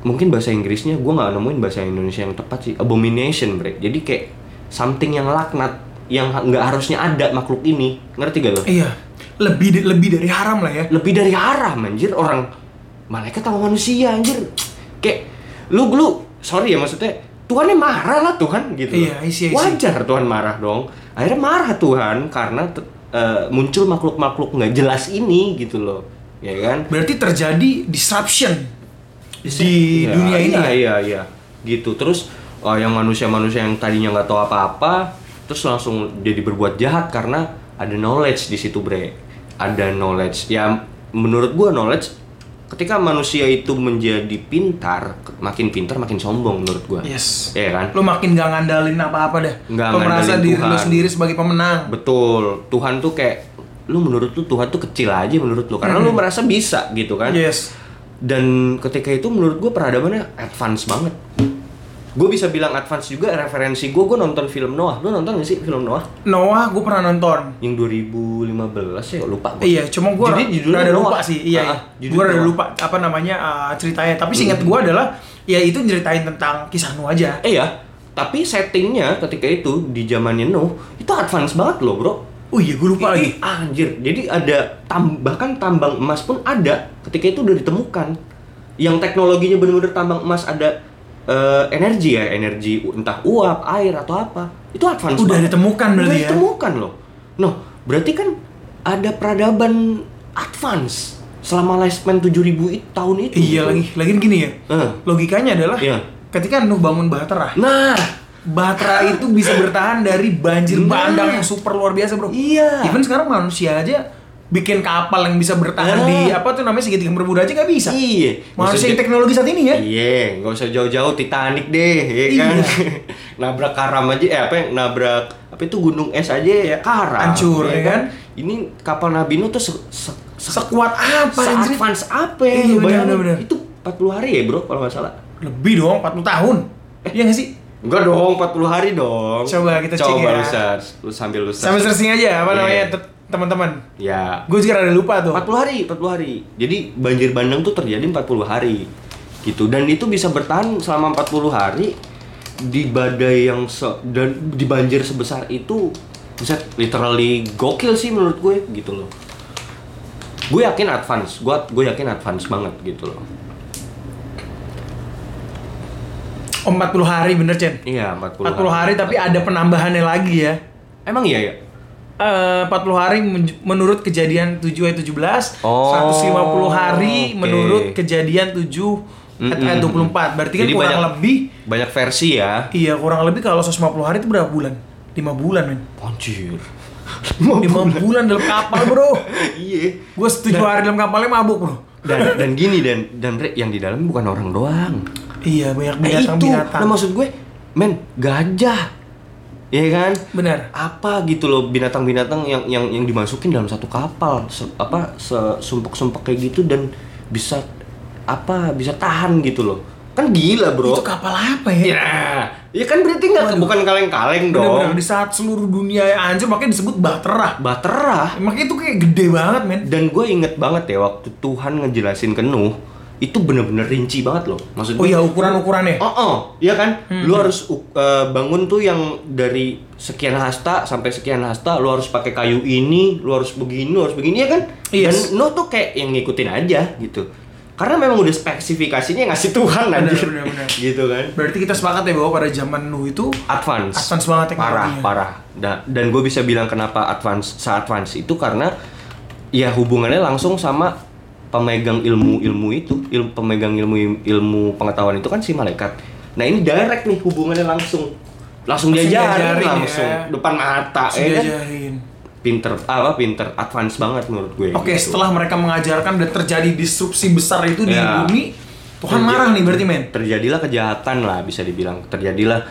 C: mungkin bahasa Inggrisnya gue nggak nemuin bahasa Indonesia yang tepat sih abomination bre jadi kayak something yang laknat yang ha- nggak harusnya ada makhluk ini ngerti gak lo
B: Iya, lebih lebih dari haram lah ya.
C: lebih dari haram anjir orang malaikat sama manusia anjir kayak lu lu sorry ya maksudnya Tuhannya marah lah Tuhan gitu loh.
B: Iya, I see, I see.
C: wajar Tuhan marah dong akhirnya marah Tuhan karena te- eh, muncul makhluk-makhluk nggak jelas ini gitu loh ya kan
B: Berarti terjadi disruption di
C: Iya,
B: dunia ini.
C: iya,
B: ya?
C: iya iya gitu terus eh, yang manusia-manusia yang tadinya nggak tahu apa-apa terus langsung jadi berbuat jahat karena ada knowledge di situ bre ada knowledge ya menurut gua knowledge ketika manusia itu menjadi pintar makin pintar makin sombong menurut gua
B: Yes.
C: Iya kan
B: Lu makin gak ngandalin apa-apa dah.
C: Nggak
B: lu merasa
C: ngandalin
B: diri lu
C: Tuhan.
B: sendiri sebagai pemenang.
C: betul Tuhan tuh kayak lu menurut lu Tuhan tuh kecil aja menurut lu karena
B: Mm-hmm.
C: lu merasa bisa gitu kan
B: Yes.
C: dan ketika itu menurut gue peradabannya advance banget gue bisa bilang advance juga referensi gue gue nonton film Noah lu nonton gak sih film Noah
B: Noah gue pernah nonton.
C: yang 2015 ya lupa gue
B: Iya, cuma gue
C: Jadi judulnya
B: rada
C: Noah.
B: lupa sih. Iya,
C: Ah, ah,
B: iya.
C: judulnya
B: gue rada
C: Noah.
B: lupa apa namanya uh, ceritanya. Tapi singkat gue adalah ya itu nyeritain tentang kisah Noah aja.
C: eh ya tapi settingnya ketika itu di zamannya Noah itu advance banget loh bro
B: Oh iya, gue lupa lagi.
C: Ih, anjir jadi ada tam- bahkan tambang emas pun ada ketika itu udah ditemukan yang teknologinya bener-bener tambang emas ada eh, energi ya energi u- entah uap air atau apa itu advance
B: Udah
C: banget.
B: ditemukan berarti
C: udah
B: ya?
C: ditemukan loh noh berarti kan ada peradaban advance selama lifespan 7000 it- tahun itu
B: Iya
C: gitu.
B: lagi, lagi gini ya.
C: Eh.
B: Logikanya adalah
C: Iya.
B: ketika Nuh bangun Bahtera,
C: nah
B: Bahtera itu bisa bertahan dari banjir
C: Nah.
B: bandang yang super luar biasa, Bro.
C: Iya.
B: Even sekarang manusia aja bikin kapal yang bisa bertahan
C: Nah.
B: di apa tuh namanya segitiga bermuda aja nggak bisa.
C: iya
B: Manusia
C: Maksudnya-
B: yang teknologi saat ini ya.
C: Iya, nggak usah jauh-jauh Titanic deh, ya
B: Iya.
C: kan? nabrak karam aja, eh apa yang nabrak apa itu gunung es aja ya karam.
B: hancur, ya kan?
C: Ini kapal Nabi Nuh tuh se, se, se,
B: Sekuat apa anjir?
C: advance apa?
B: Iya,
C: lu
B: benar,
C: bayangin.
B: benar, benar.
C: Itu 40 hari ya bro, kalau nggak salah.
B: Lebih dong, 40 tahun.
C: Eh.
B: Iya nggak sih?
C: Enggak dong, 40 hari dong.
B: Coba kita cek
C: Coba
B: ya.
C: lu search, lu sambil lu search.
B: Sambil searching aja apa
C: Iya.
B: namanya te- teman-teman.
C: Ya,
B: Gue juga rada lupa tuh.
C: 40 hari, 40 hari. Jadi banjir bandang tuh terjadi 40 hari. Gitu. Dan itu bisa bertahan selama 40 hari di badai yang se- dan di banjir sebesar itu bisa literally gokil sih menurut gue gitu loh. Gue yakin advance, gue gue yakin advance banget gitu loh.
B: Oh, 40 hari bener, Chen.
C: Iya, 40,
B: 40 hari tapi ada penambahannya lagi ya.
C: Emang iya ya?
B: Eh, 40 hari men- menurut kejadian 7 ayat 17,
C: Oh,
B: 150 hari
C: oke.
B: menurut kejadian 7 ayat 24. Berarti kan
C: Jadi
B: kurang
C: banyak-
B: lebih
C: Banyak versi ya.
B: iya kurang lebih kalau 150 hari itu berapa bulan? 5 bulan, men.
C: Anjir.
B: 5 bulan dalam kapal, Bro.
C: iya.
B: Gue setuju hari dalam kapalnya mabuk, Bro.
C: Dan dan gini dan dan Bre, yang di dalam bukan orang doang.
B: Iya, banyak
C: Eh, itu,
B: binatang-binatang.
C: nah maksud gue, men, gajah, ya kan?
B: Benar.
C: Apa gitu loh binatang-binatang yang yang yang dimasukin dalam satu kapal, se- apa se- sumpek-sumpek kayak gitu dan bisa apa bisa tahan gitu loh? Kan gila bro.
B: Itu kapal apa ya?
C: Ya, ya kan berarti nggak bukan kaleng-kaleng
B: Bener-bener
C: dong.
B: di saat seluruh dunia yang hancur makanya disebut Bahtera.
C: Batera.
B: Makanya itu kayak gede banget, men.
C: Dan gue inget banget ya waktu Tuhan ngejelasin ke Nuh, itu bener-bener rinci banget loh. Maksud
B: Oh
C: gue-
B: iya ukuran-ukurannya.
C: Oh, oh, iya kan?
B: Hmm.
C: Lu harus u- eh, bangun tuh yang dari sekian hasta sampai sekian hasta, lu harus pakai kayu ini, lu harus begini, lu harus begini ya kan?
B: Yes.
C: Dan lu tuh kayak yang ngikutin aja gitu. Karena memang udah spesifikasinya yang ngasih Tuhan
B: Benar,
C: anjir.
B: benar, benar.
C: gitu kan.
B: Berarti kita sepakat ya bahwa pada zaman Nuh itu
C: Advance.
B: Advance banget
C: Parah,
B: teknologinya.
C: parah. Da- dan gue bisa bilang kenapa advance, se-advance itu karena ya hubungannya langsung sama pemegang ilmu-ilmu itu, ilmu pemegang ilmu ilmu pengetahuan itu kan si malaikat. Nah, ini direct nih hubungannya langsung
B: Langsung
C: langsung diajarin
B: diajarin
C: langsung
B: ya.
C: depan mata
B: langsung
C: ya kan?
B: diajarin.
C: Pinter apa pinter advance banget menurut gue.
B: Oke,
C: gitu.
B: setelah mereka mengajarkan dan terjadi disrupsi besar itu di
C: Ya.
B: bumi, Tuhan
C: Terja-
B: marah nih berarti men.
C: terjadilah kejahatan lah bisa dibilang terjadilah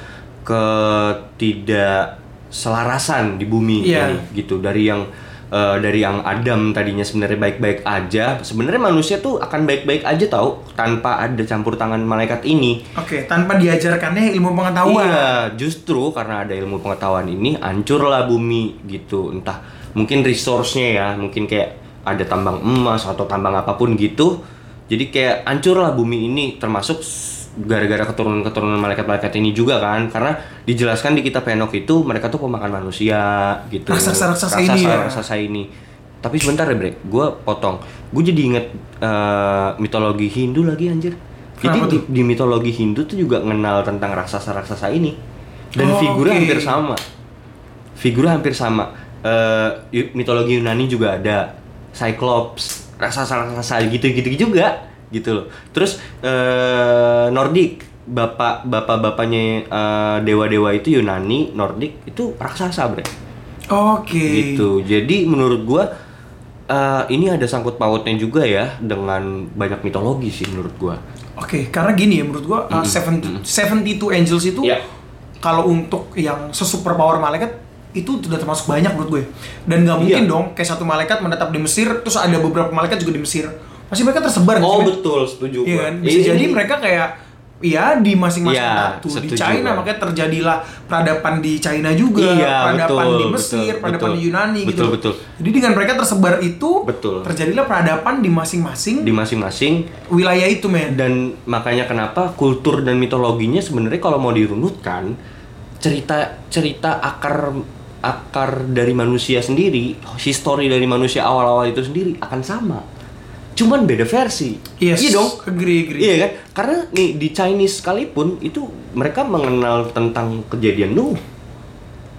C: ketidak selarasan di bumi
B: Iya.
C: ini, gitu dari yang eh, dari yang Adam tadinya sebenarnya baik-baik aja sebenarnya manusia tuh akan baik-baik aja tau tanpa ada campur tangan malaikat ini
B: Oke, tanpa diajarkannya ilmu pengetahuan.
C: Iya, justru karena ada ilmu pengetahuan ini hancurlah bumi gitu. Entah mungkin resource-nya ya, mungkin kayak ada tambang emas atau tambang apapun gitu. Jadi kayak hancurlah bumi ini termasuk s- gara-gara keturunan-keturunan malaikat-malaikat ini juga kan. Karena dijelaskan di kitab Henokh itu mereka tuh pemakan manusia gitu.
B: Raksasa-raksasa ini ya.
C: Raksasa-raksasa ini. Tapi sebentar ya, Bre. Gue potong. Gue jadi inget eh, mitologi Hindu lagi anjir.
B: Kenapa
C: Jadi di,
B: tuh?
C: di mitologi Hindu tuh juga kenal tentang raksasa-raksasa ini dan
B: Oh,
C: figurnya
B: oke.
C: hampir sama. Figurnya hampir sama. Eh, yu- mitologi Yunani juga ada Cyclops, raksasa-raksasa gitu-gitu juga gitu loh. Terus eh Nordik, bapak bapak-bapaknya eh, dewa-dewa itu Yunani, Nordik itu raksasa, Bre
B: Oke.
C: gitu jadi menurut gua eh, ini ada sangkut pautnya juga ya dengan banyak mitologi sih menurut gua
B: Oke, karena gini ya menurut gua uh, 70 72 Angels itu
C: Iya.
B: kalau untuk yang sesuper power malaikat itu sudah termasuk banyak menurut gue. Dan nggak mungkin
C: Iya.
B: dong kayak satu malaikat menetap di Mesir terus ada beberapa malaikat juga di Mesir. Pasti mereka tersebar nggak sih,
C: oh
B: Men?
C: betul setuju
B: Kan Iya
C: gua.
B: kan? Bisa
C: Ini-
B: jadi mereka kayak ya di masing-masing
C: Iya,
B: satu di
C: setuju
B: China
C: gua.
B: makanya terjadilah peradaban di China juga,
C: Iya,
B: peradaban
C: betul,
B: di Mesir,
C: betul,
B: peradaban
C: betul.
B: di Yunani gitu.
C: Betul, betul.
B: Jadi dengan mereka tersebar itu
C: Betul.
B: terjadilah peradaban di masing-masing
C: di masing-masing
B: wilayah itu, men.
C: dan makanya kenapa kultur dan mitologinya sebenarnya kalau mau dirunutkan cerita cerita akar akar dari manusia sendiri history dari manusia awal-awal itu sendiri akan sama cuman beda versi
B: Yes.
C: iya dong
B: Agree, agree.
C: Iya kan? Karena nih di Chinese sekalipun itu mereka mengenal tentang kejadian Nuh.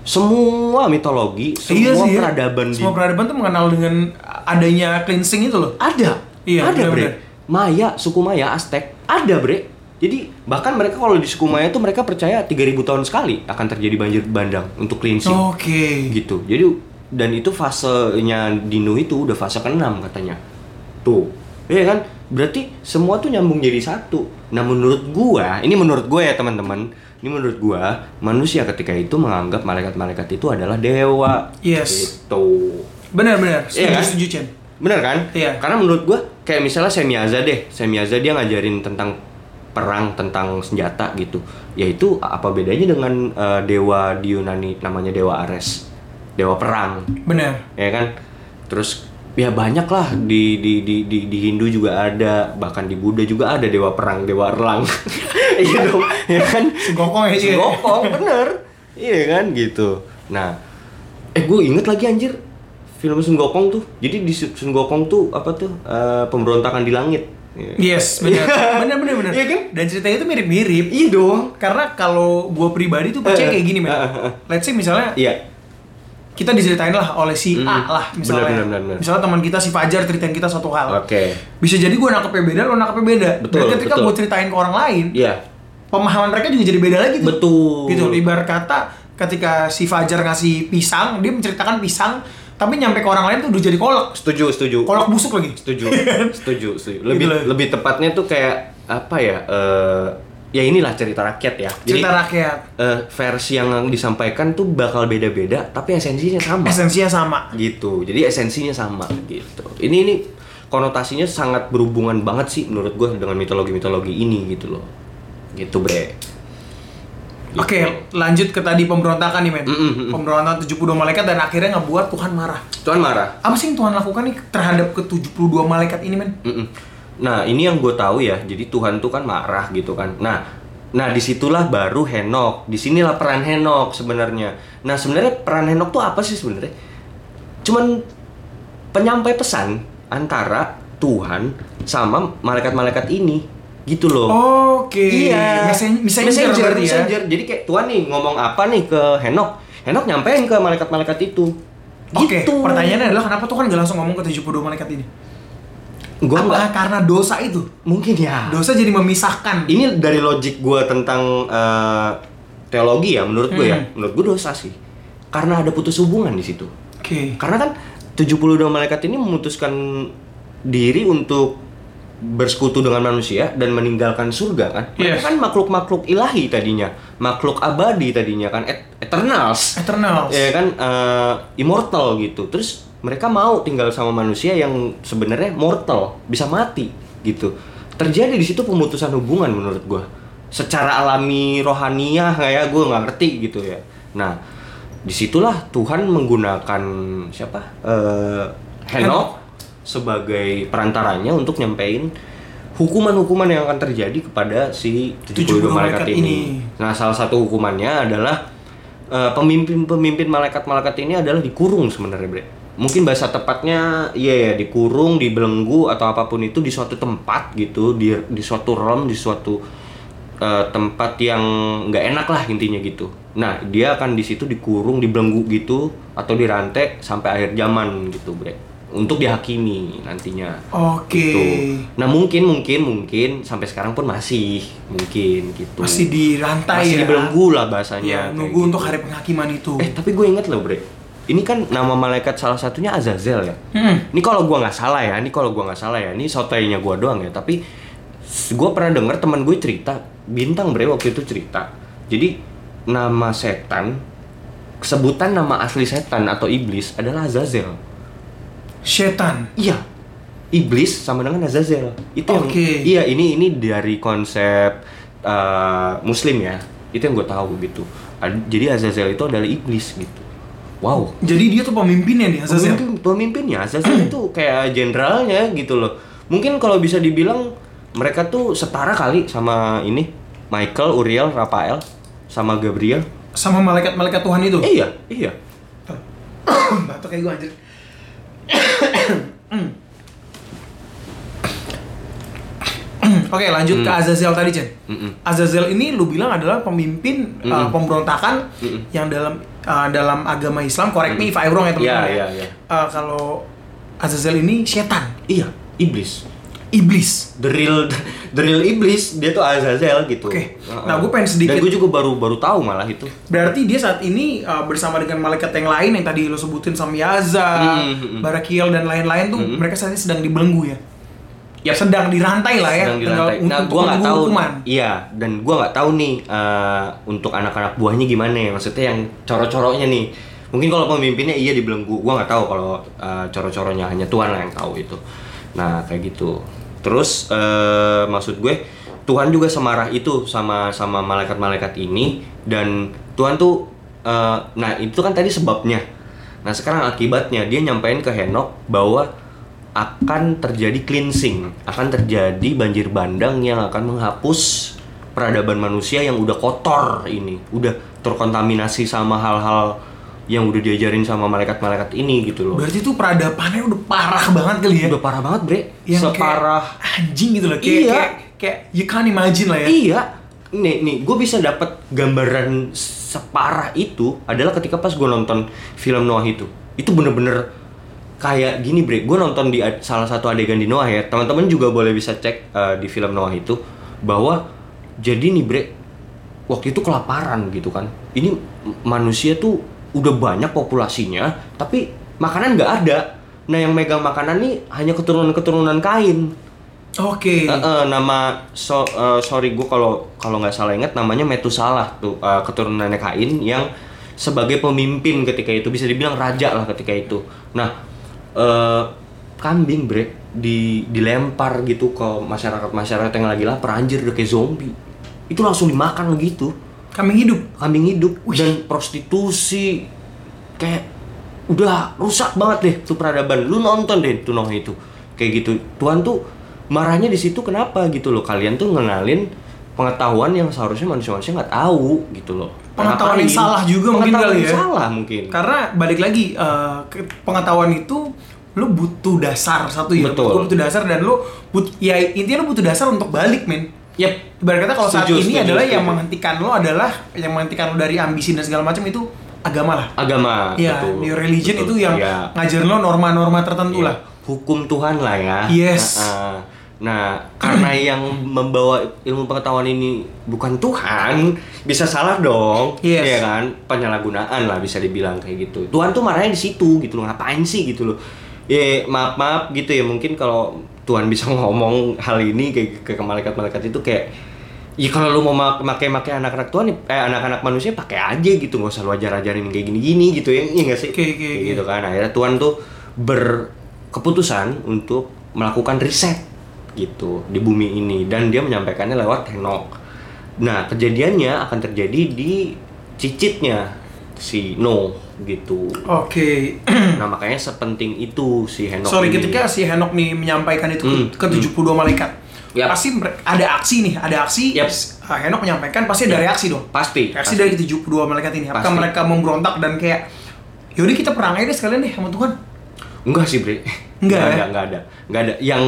C: Semua mitologi,
B: Iya
C: semua
B: sih, ya.
C: peradaban di
B: Semua peradaban tuh mengenal dengan adanya cleansing itu loh.
C: ada.
B: Iya,
C: ada, Bre.
B: benar-benar.
C: Maya, suku Maya, Aztec, ada, Bre. Jadi bahkan mereka kalau di suku Maya itu mereka percaya 3000 tahun sekali akan terjadi banjir bandang untuk cleansing
B: Oh, Oke.
C: gitu. Jadi dan itu fasenya di Nuh itu udah fase ke-6 katanya. Tuh. Iya kan? Berarti semua tuh nyambung jadi satu. Nah, menurut gua, ini menurut gua ya, teman-teman. Ini menurut gua, manusia ketika itu menganggap malaikat-malaikat itu adalah dewa.
B: Yes.
C: Gitu.
B: Benar-benar.
C: Iya
B: Setuju,
C: kan?
B: setuju, Chen.
C: Bener kan?
B: Iya.
C: Karena menurut gua kayak misalnya Semiaza deh. Semiaza dia ngajarin tentang perang, tentang senjata gitu. Yaitu apa bedanya dengan eh, dewa di Yunani namanya dewa Ares. Dewa perang
B: Benar.
C: ya kan terus ya banyak lah di di di di, di Hindu juga ada bahkan di Buddha juga ada dewa perang dewa erlang iya dong ya kan
B: Segokong ya, Chen.
C: Gokong, bener iya kan gitu nah eh gue inget lagi anjir film Sun Gokong tuh jadi di Sun Sun Gokong tuh apa tuh eh, pemberontakan di langit Iya.
B: Yes, benar. benar benar benar.
C: Iya kan?
B: Dan ceritanya itu mirip-mirip.
C: iya dong
B: Karena kalau gua pribadi tuh percaya
C: Eh,
B: kayak gini, men.
C: eh, eh, eh.
B: Let's say misalnya
C: iya
B: kita diceritain lah oleh si A
C: Mm,
B: lah misalnya.
C: benar, benar, benar.
B: Misalnya teman kita si Fajar ceritain kita suatu hal.
C: Oke.
B: Bisa jadi gua nangkepnya beda, lo nangkepnya beda.
C: Betul,
B: Dan ketika
C: betul.
B: gua ceritain ke orang lain,
C: iya
B: pemahaman mereka juga jadi beda lagi tuh.
C: Betul.
B: Gitu, ibarat kata ketika si Fajar ngasih pisang, dia menceritakan pisang, tapi nyampe ke orang lain tuh udah jadi kolak.
C: setuju setuju
B: Kolak busuk lagi.
C: setuju setuju setuju
B: Iya kan? Gitu
C: lebih
B: lah.
C: lebih tepatnya tuh kayak apa ya eh, ya inilah cerita rakyat ya Jadi,
B: Cerita rakyat.
C: eh, versi yang disampaikan tuh bakal beda-beda tapi esensinya sama
B: Esensinya sama.
C: gitu jadi esensinya sama gitu ini ini konotasinya sangat berhubungan banget sih menurut gua dengan mitologi mitologi ini gitu loh gitu bre Gitu.
B: Oke, lanjut ke tadi pemberontakan nih, men.
C: Mm, mm, mm.
B: Pemberontakan 72 malaikat dan akhirnya ngebuat Tuhan marah.
C: Tuhan marah
B: Apa sih yang Tuhan lakukan nih terhadap ke-72 malaikat ini, men?
C: Mm-mm. Nah, ini yang gue tahu ya. Jadi Tuhan tuh kan marah gitu kan. Nah, nah disitulah baru Henok. Disinilah peran Henok sebenarnya. Nah, sebenarnya peran Henok tuh apa sih sebenarnya? Cuman penyampai pesan antara Tuhan sama malaikat-malaikat ini gitu loh.
B: Oke.
C: Iya.
B: Messen- Oh, Messenger, berarti ya.
C: messenger. Jadi kayak Tuhan nih ngomong apa nih ke Henok. Henok nyampein ke malaikat-malaikat itu.
B: Oke,
C: Gitu.
B: pertanyaannya adalah kenapa Tuhan nggak langsung ngomong ke 72 malaikat ini?
C: Gua nggak-
B: Apakah karena dosa itu?
C: mungkin ya.
B: Dosa jadi memisahkan.
C: ini dari logik gue tentang eh, teologi ya menurut gue ya
B: Hmm.
C: menurut gue dosa sih karena ada putus hubungan di situ
B: Oke.
C: karena kan 72 malaikat ini memutuskan diri untuk bersekutu dengan manusia dan meninggalkan surga kan
B: Yes.
C: mereka kan makhluk-makhluk ilahi tadinya makhluk abadi tadinya kan et- eternals
B: Eternals.
C: ya kan eh, immortal gitu terus mereka mau tinggal sama manusia yang sebenarnya mortal bisa mati gitu terjadi di situ pemutusan hubungan menurut gua secara alami rohaniah kayak gua nggak ngerti gitu ya nah disitulah Tuhan menggunakan siapa Eh, Henok sebagai perantaranya untuk nyampein hukuman-hukuman yang akan terjadi kepada si
B: 72
C: 72 malaikat
B: malaikat
C: ini.
B: ini.
C: Nah, salah satu hukumannya adalah eh, pemimpin-pemimpin malaikat-malaikat ini adalah dikurung sebenarnya, Bre. Mungkin bahasa tepatnya ya ya, dikurung, dibelenggu atau apapun itu di suatu tempat gitu, di di suatu realm, di suatu eh, tempat yang nggak enak lah intinya gitu. Nah, dia akan di situ dikurung, dibelenggu gitu atau dirantai sampai akhir zaman gitu, Bre. Untuk dihakimi nantinya.
B: Oke.
C: Gitu. Nah, mungkin mungkin mungkin sampai sekarang pun masih mungkin gitu.
B: Masih dirantai
C: Masih
B: ya.
C: dibelenggu lah bahasanya.
B: Ya,
C: kayak
B: nunggu
C: gitu.
B: untuk hari penghakiman itu.
C: Eh, tapi gue inget loh, Bre. Ini kan nama malaikat salah satunya Azazel ya.
B: Hmm.
C: Ini kalau gua nggak salah ya, ini kalau gua nggak salah ya, ini sotainya gua doang ya. Tapi s- gua pernah denger teman gue cerita, bintang Bre waktu itu cerita. Jadi nama setan, sebutan nama asli setan atau iblis adalah Azazel.
B: Setan.
C: Iya. Iblis sama dengan Azazel. Itu yang-
B: Oke.
C: Iya, ini ini dari konsep uh, muslim ya. Itu yang gue tahu gitu. Ad- Jadi Azazel itu adalah iblis gitu. Wow.
B: Jadi dia tuh pemimpinnya nih Azazel.
C: Pemimpin, pemimpinnya Azazel itu kayak jenderalnya gitu loh. Mungkin kalau bisa dibilang mereka tuh setara kali sama ini Michael, Uriel, Rafael sama Gabriel.
B: Sama malaikat-malaikat Tuhan itu.
C: Eh, iya, iya.
B: Batuk kayak gue anjir. Oke lanjut ke Azazel tadi Chen.
C: Mm-mm.
B: Azazel ini lu bilang adalah pemimpin uh,
C: Mm-mm.
B: pemberontakan
C: Mm-mm.
B: yang dalam uh, dalam agama Islam. Correct me if I'm wrong ya teman-teman.
C: Iya,
B: ya.
C: iya, iya.
B: Uh, kalau Azazel ini setan,
C: Iya, iblis.
B: iblis.
C: the real the real iblis dia tuh Azazel gitu.
B: Oke.
C: Heeh.
B: Nah, gue pengen sedikit-
C: Dan gue juga baru baru tahu malah itu.
B: Berarti dia saat ini uh, bersama dengan malaikat yang lain yang tadi lu sebutin Samyaza,
C: Mm-mm.
B: Barakiel dan lain-lain tuh
C: Mm-mm.
B: mereka saat ini sedang dibelenggu ya.
C: Yap.
B: sedang dirantai lah ya
C: Sedang
B: tinggal
C: dilantai.
B: untuk-
C: Nah,
B: untuk
C: gue nggak
B: menunggu
C: tahu.
B: hukuman.
C: Iya, dan gue nggak tahu nih eh, untuk anak-anak buahnya gimana ya. Maksudnya yang coro-coronya nih. Mungkin kalau pemimpinnya iya dibelenggu. Gue nggak tahu kalau eh, coro-coronya hanya Tuhan lah yang tahu itu. Nah kayak gitu. Terus eh, maksud gue Tuhan juga semarah itu sama sama malaikat-malaikat ini dan Tuhan tuh eh, nah itu kan tadi sebabnya. Nah sekarang akibatnya dia nyampein ke Henok bahwa akan terjadi cleansing, akan terjadi banjir bandang yang akan menghapus peradaban manusia yang udah kotor ini, udah terkontaminasi sama hal-hal yang udah diajarin sama malaikat-malaikat ini gitu loh.
B: Berarti tuh peradabannya udah parah banget kali ya.
C: Udah parah banget, Bre.
B: Yang kayak
C: Separah
B: anjing gitu loh kayak,
C: Iya.
B: kayak kayak you can't imagine lah ya.
C: Iya. Nih, nih, gue bisa dapat gambaran separah itu adalah ketika pas gue nonton film Noah itu. Itu bener-bener kayak gini, Bre. Gue nonton di ad- salah satu adegan di Noah ya. Teman-teman juga boleh bisa cek eh, di film Noah itu bahwa jadi nih, Bre, waktu itu kelaparan gitu kan. Ini m- manusia tuh udah banyak populasinya, tapi makanan nggak ada. Nah, yang megang makanan nih hanya keturunan-keturunan kain.
B: Oke.
C: Eh, eh, nama so, eh, sorry gue kalau kalau nggak salah ingat namanya Metusalah tuh eh, keturunannya Kain yang sebagai pemimpin ketika itu bisa dibilang raja lah ketika itu. Nah eh, kambing bre di dilempar gitu ke masyarakat masyarakat yang lagi lapar anjir udah kayak zombie itu langsung dimakan gitu
B: Kambing hidup.
C: kambing hidup dan prostitusi kayak udah rusak banget deh tuh peradaban lu nonton deh tuh Noah itu kayak gitu Tuhan tuh marahnya di situ kenapa gitu loh kalian tuh ngenalin pengetahuan yang seharusnya manusia-manusia nggak tahu gitu loh
B: Pengetahuan
C: Ngapain?
B: yang salah juga mungkin
C: Pengetahuan
B: kali
C: yang
B: ya.
C: salah mungkin
B: Karena balik lagi eh, ke- pengetahuan itu lu butuh dasar satu ya.
C: Betul.
B: Lu butuh dasar dan lu but, ya intinya lu butuh dasar untuk balik, men.
C: Yep.
B: Ibarat kata kalau saat ini
C: Setuju, setuju,
B: adalah yang
C: setuju.
B: menghentikan lo adalah yang menghentikan lo dari ambisi dan segala macam itu agama lah.
C: agama
B: Iya,
C: betul.
B: new religion
C: Betul.
B: itu yang
C: Iya.
B: ngajarin lo norma-norma tertentu
C: Iya.
B: lah.
C: hukum Tuhan lah ya
B: Yes.
C: Nah, eh, nah, karena yang membawa ilmu pengetahuan ini bukan Tuhan bisa salah dong
B: Yes.
C: ya kan penyalahgunaan lah bisa dibilang kayak gitu Tuhan tuh marahnya di situ gitu loh ngapain sih gitu loh ya maaf maaf gitu ya mungkin kalau Tuhan bisa ngomong hal ini kayak ke, ke malaikat-malaikat itu kayak Ya kalau lu mau mak- make-make anak-anak Tuhan, eh anak-anak manusia pakai aja gitu, nggak usah lu ajar-ajarin kayak gini-gini gitu ya, iya nggak sih?
B: Oke, oke,
C: Kayak
B: oke.
C: gitu kan. Akhirnya Tuhan tuh berkeputusan untuk melakukan riset gitu di bumi ini dan dia menyampaikannya lewat Henok. Nah, kejadiannya akan terjadi di cicitnya si Noh gitu.
B: Oke.
C: Nah, makanya sepenting itu si Henok
B: Sorry,
C: ini.
B: ketika si Henok nih menyampaikan itu ke-
C: Hmm,
B: ke, 72 malaikat.
C: Yap.
B: Pasti mere- ada aksi nih, ada aksi.
C: Yap.
B: S- ah, Henok menyampaikan pasti ada reaksi dong.
C: pasti
B: Reaksi dari 72 malaikat ini. Apakah
C: Pasti.
B: mereka memberontak dan kayak yaudah kita perang aja deh sekalian deh sama Tuhan.
C: Enggak sih, Bre.
B: Enggak ya?
C: ada, enggak ada. Enggak ada. Yang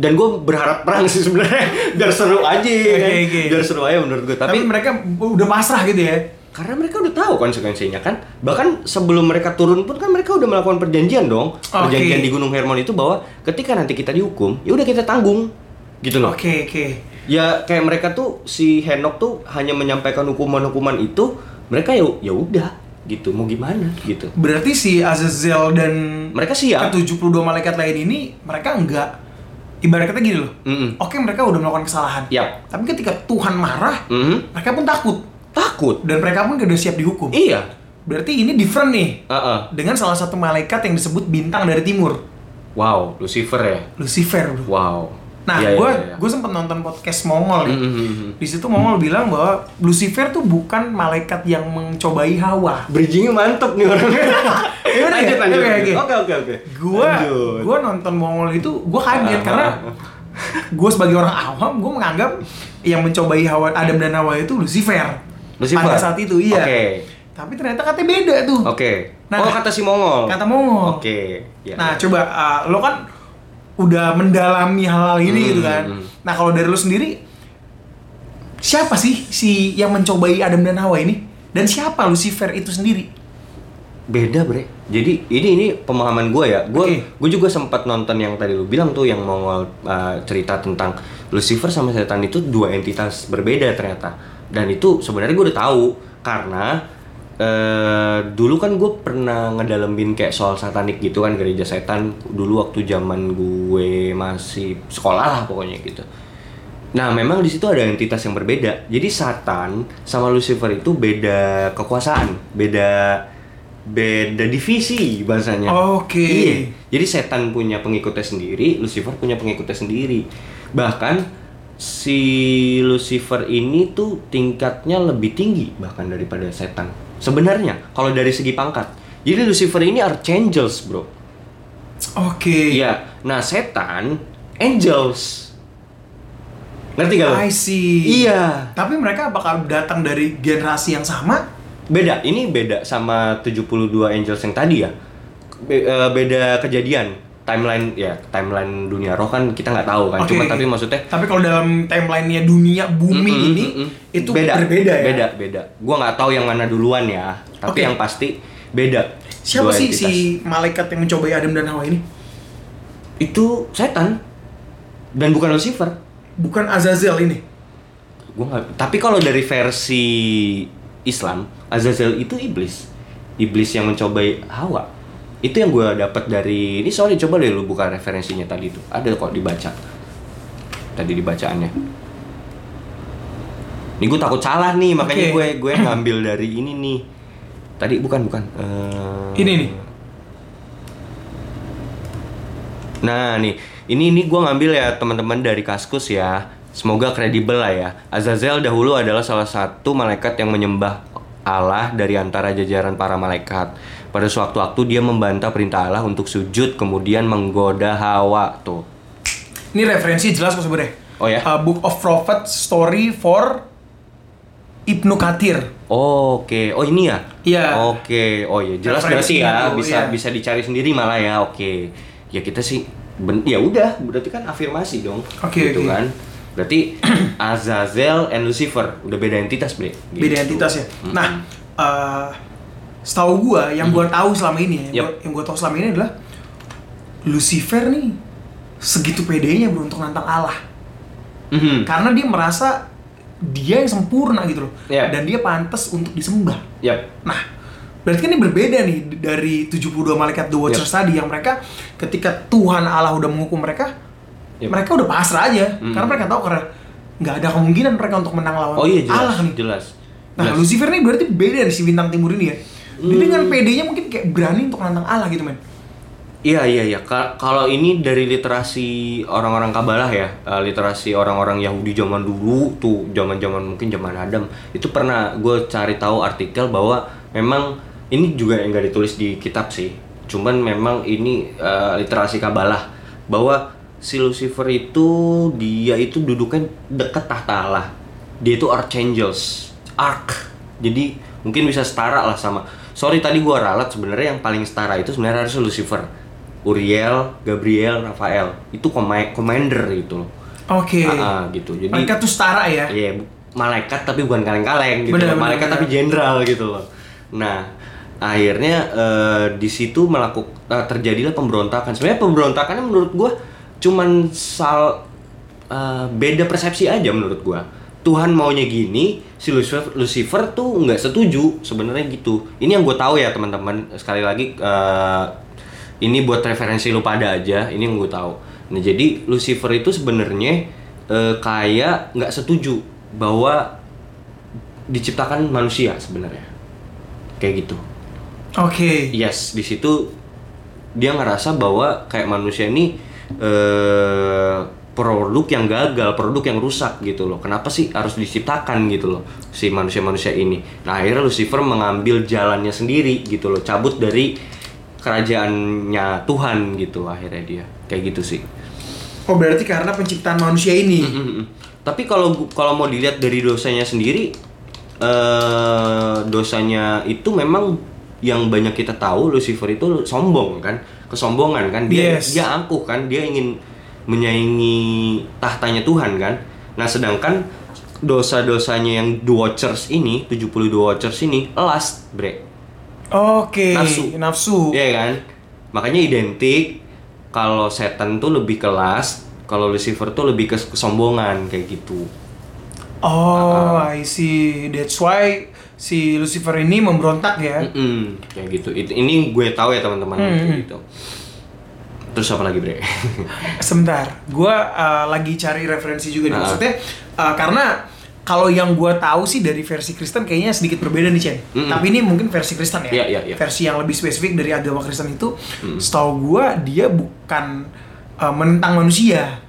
C: dan gue berharap perang sih sebenarnya biar seru aja. kan?
B: oke.
C: Biar seru aja menurut gue.
B: Tapi,
C: Tapi
B: mereka udah pasrah gitu ya.
C: karena mereka udah tahu konsekuensinya kan. Bahkan sebelum mereka turun pun kan mereka udah melakukan perjanjian dong. Perjanjian di Gunung Hermon itu bahwa ketika nanti kita dihukum, ya udah kita tanggung. Gitu loh.
B: Oke, oke.
C: Ya kayak mereka tuh si Henok tuh hanya menyampaikan hukuman-hukuman itu, mereka ya ya udah gitu. Mau gimana gitu.
B: Berarti si Azazel dan
C: Mereka siap.
B: ke 72 malaikat lain ini mereka enggak ibarat kata gini loh.
C: Mm-mm.
B: Oke, mereka udah melakukan kesalahan.
C: Yap.
B: Tapi ketika Tuhan marah,
C: Mhm.
B: mereka pun takut
C: Takut.
B: dan mereka pun udah siap dihukum.
C: Iya.
B: Berarti ini different nih
C: Heeh.
B: dengan salah satu malaikat yang disebut bintang dari timur,
C: Wow, Lucifer ya.
B: Lucifer, bro.
C: Wow.
B: Nah,
C: Iya, iya,
B: gue
C: iya.
B: gue sempet nonton podcast Mongol nih.
C: Mm, mm, mm, mm.
B: Di situ Mongol bilang bahwa Lucifer tuh bukan malaikat yang mencobai Hawa.
C: bridgingnya mantep nih orangnya.
B: Iya, bener
C: lanjut,
B: ya?
C: lanjut,
B: Oke,
C: lanjut.
B: oke.
C: Oke, oke, oke.
B: Gue
C: Lanjut.
B: gue nonton Mongol itu gue kaget
C: Ah,
B: karena
C: ah.
B: gue sebagai orang awam gue menganggap yang mencobai Hawa Adam dan Hawa itu Lucifer.
C: Lucifer.
B: Pada saat itu iya.
C: Oke.
B: Tapi ternyata katanya beda tuh.
C: Oke.
B: Nah,
C: oh, kata si Mongol.
B: kata Mongol.
C: Oke. Ya,
B: Nah,
C: ya.
B: coba uh, lo kan udah mendalami hal-hal ini
C: Hmm,
B: gitu kan.
C: hmm.
B: Nah, kalau dari lo sendiri siapa sih si yang mencobai Adam dan Hawa ini? Dan siapa Lucifer itu sendiri?
C: beda bre jadi ini ini pemahaman gue ya gue
B: Oke.
C: gue juga sempat nonton yang tadi lu bilang tuh yang Mongol uh, cerita tentang Lucifer sama setan itu dua entitas berbeda ternyata dan itu sebenarnya gue udah tahu karena eh, dulu kan gue pernah ngedalemin kayak soal satanik gitu kan gereja setan dulu waktu zaman gue masih sekolah lah pokoknya gitu Nah, memang di situ ada entitas yang berbeda. Jadi Satan sama Lucifer itu beda kekuasaan, beda beda divisi bahasanya.
B: Oke.
C: Iya. Jadi setan punya pengikutnya sendiri, Lucifer punya pengikutnya sendiri. Bahkan si Lucifer ini tuh tingkatnya lebih tinggi bahkan daripada setan. Sebenarnya kalau dari segi pangkat. Jadi Lucifer ini archangels, Bro.
B: Oke.
C: Iya. Nah, setan angels. Ngerti gak? lo?
B: I see.
C: Iya.
B: Tapi mereka bakal datang dari generasi yang sama?
C: Beda, ini beda sama 72 Angels yang tadi ya. Be- eh, beda kejadian. Timeline ya, timeline dunia roh kan kita nggak tahu kan.
B: Oke,
C: Cuma
B: oke.
C: tapi maksudnya
B: Tapi kalau dalam timeline-nya dunia bumi
C: Mm-mm,
B: ini
C: mm-mm.
B: itu berbeda ya.
C: Beda, beda. Gua nggak tahu yang mana duluan ya, tapi
B: Oke.
C: yang pasti beda.
B: Siapa
C: Dua
B: sih
C: entitas.
B: si malaikat yang mencobai Adam dan Hawa ini?
C: Itu setan. Dan bukan Lucifer.
B: Bukan Azazel ini.
C: Gua nggak- tapi kalau dari versi Islam, Azazel itu iblis. Iblis yang mencobai Hawa. Itu yang gue dapat dari ini sorry coba deh lu buka referensinya tadi itu. Ada kok dibaca. Tadi dibacaannya. Ini gue takut salah nih, makanya
B: Oke.
C: gue gue ngambil dari ini nih. Tadi bukan bukan. Eh,
B: Ini nih.
C: Nah nih, ini ini gue ngambil ya teman-teman dari Kaskus ya. Semoga kredibel lah ya. Azazel dahulu adalah salah satu malaikat yang menyembah Allah dari antara jajaran para malaikat. Pada suatu waktu dia membantah perintah Allah untuk sujud, kemudian menggoda Hawa tuh.
B: Ini referensi jelas kok sebenarnya.
C: Oh ya?
B: Uh, Book of Prophet Story for Ibnu Kathir.
C: Oh, Oke, oh ini ya?
B: Iya.
C: Oke, oh iya jelas berarti
B: Referensinya
C: ya
B: dulu,
C: bisa
B: iya.
C: bisa dicari sendiri malah ya. Oke, ya kita sih ben- ya udah berarti kan afirmasi dong.
B: Oke,
C: gitu
B: oke.
C: kan. Berarti Azazel and Lucifer udah beda entitas bre. Gitu.
B: Beda entitas ya.
C: Mm-mm.
B: Nah, uh, setahu gua yang gua tahu selama ini ya, yang
C: Yap.
B: gua- yang gua tahu selama ini adalah Lucifer nih segitu pedenya bro untuk nantang Allah.
C: Mhm.
B: Karena dia merasa dia yang sempurna gitu loh.
C: Iya.
B: Dan dia pantas untuk disembah.
C: Yap.
B: Nah, berarti kan ini berbeda nih d- dari 72 malaikat The Watchers tadi yang mereka ketika Tuhan Allah udah menghukum mereka,
C: Yep.
B: mereka udah pasrah aja
C: Mm.
B: karena mereka tahu karena nggak ada kemungkinan mereka untuk menang lawan
C: Oh iya jelas.
B: Allah nih.
C: Jelas.
B: Nah,
C: Jelas.
B: Lucifer nih berarti beda dari si bintang timur ini ya. Dia
C: Hmm.
B: dengan PD-nya mungkin kayak berani untuk nantang Allah gitu, men.
C: Iya iya iya. Ka- Kalau ini dari literasi orang-orang Kabalah ya, eh, literasi orang-orang Yahudi zaman dulu tuh, zaman-zaman mungkin zaman Adam, itu pernah gue cari tahu artikel bahwa memang ini juga yang nggak ditulis di kitab sih. Cuman memang ini eh, literasi Kabalah bahwa si Lucifer itu dia itu duduknya dekat tahta Allah. Dia itu archangels, arch. Jadi mungkin bisa setara lah sama. Sorry tadi gua ralat sebenarnya yang paling setara itu sebenarnya harus Lucifer. Uriel, Gabriel, Rafael. Itu komai- commander gitu loh.
B: Oke.
C: Ah, ah, gitu. Jadi
B: Mereka tuh setara ya.
C: Iya, bu- malaikat tapi bukan kaleng-kaleng gitu.
B: Benar,
C: loh.
B: benar,
C: malaikat
B: benar.
C: tapi jenderal gitu loh. Nah, akhirnya eh, di situ melakukan eh, terjadilah pemberontakan. Sebenarnya pemberontakannya menurut gua cuman sal eh, beda persepsi aja menurut gua. Tuhan maunya gini, si Lucifer, Lucifer tuh nggak setuju sebenarnya gitu. Ini yang gue tahu ya teman-teman. Sekali lagi eh, ini buat referensi lu pada aja ini yang gue tahu nah jadi Lucifer itu sebenarnya eh, kayak nggak setuju bahwa diciptakan manusia sebenarnya kayak gitu
B: Oke.
C: yes di situ dia ngerasa bahwa kayak manusia ini eh produk yang gagal, produk yang rusak gitu loh. Kenapa sih harus diciptakan gitu loh si manusia-manusia ini? Nah akhirnya Lucifer mengambil jalannya sendiri gitu loh, cabut dari kerajaannya Tuhan gitu akhirnya dia kayak gitu sih.
B: Oh, berarti karena penciptaan manusia ini.
C: Mm-mm. Tapi kalau gu- kalau mau dilihat dari dosanya sendiri, eh dosanya itu memang yang banyak kita tahu Lucifer itu sombong kan, kesombongan kan, dia
B: Yes.
C: dia angkuh kan, dia ingin menyaingi tahtanya Tuhan kan. Nah sedangkan dosa-dosanya yang The Watchers ini, 72 Watchers ini, last break.
B: Oke.
C: Nafsu.
B: Nafsu.
C: Iya kan? Makanya identik kalau setan tuh lebih kelas, kalau Lucifer tuh lebih ke kesombongan kayak gitu.
B: Oh,
C: Ah,
B: I see. That's why si Lucifer ini memberontak ya.
C: Mm-mm, kayak gitu. It- ini gue tahu ya teman-teman
B: Hmm,
C: gitu, gitu. Terus apa lagi, Bre?
B: Sebentar, gua uh, lagi cari referensi juga nih.
C: Ah.
B: Maksudnya uh, karena kalau yang gua tahu sih dari versi Kristen kayaknya sedikit berbeda nih, Chen.
C: Mm-mm.
B: Tapi ini mungkin versi Kristen ya.
C: Iya, iya, iya.
B: Versi yang lebih spesifik dari agama Kristen itu, setahu gua dia bukan uh, menentang manusia,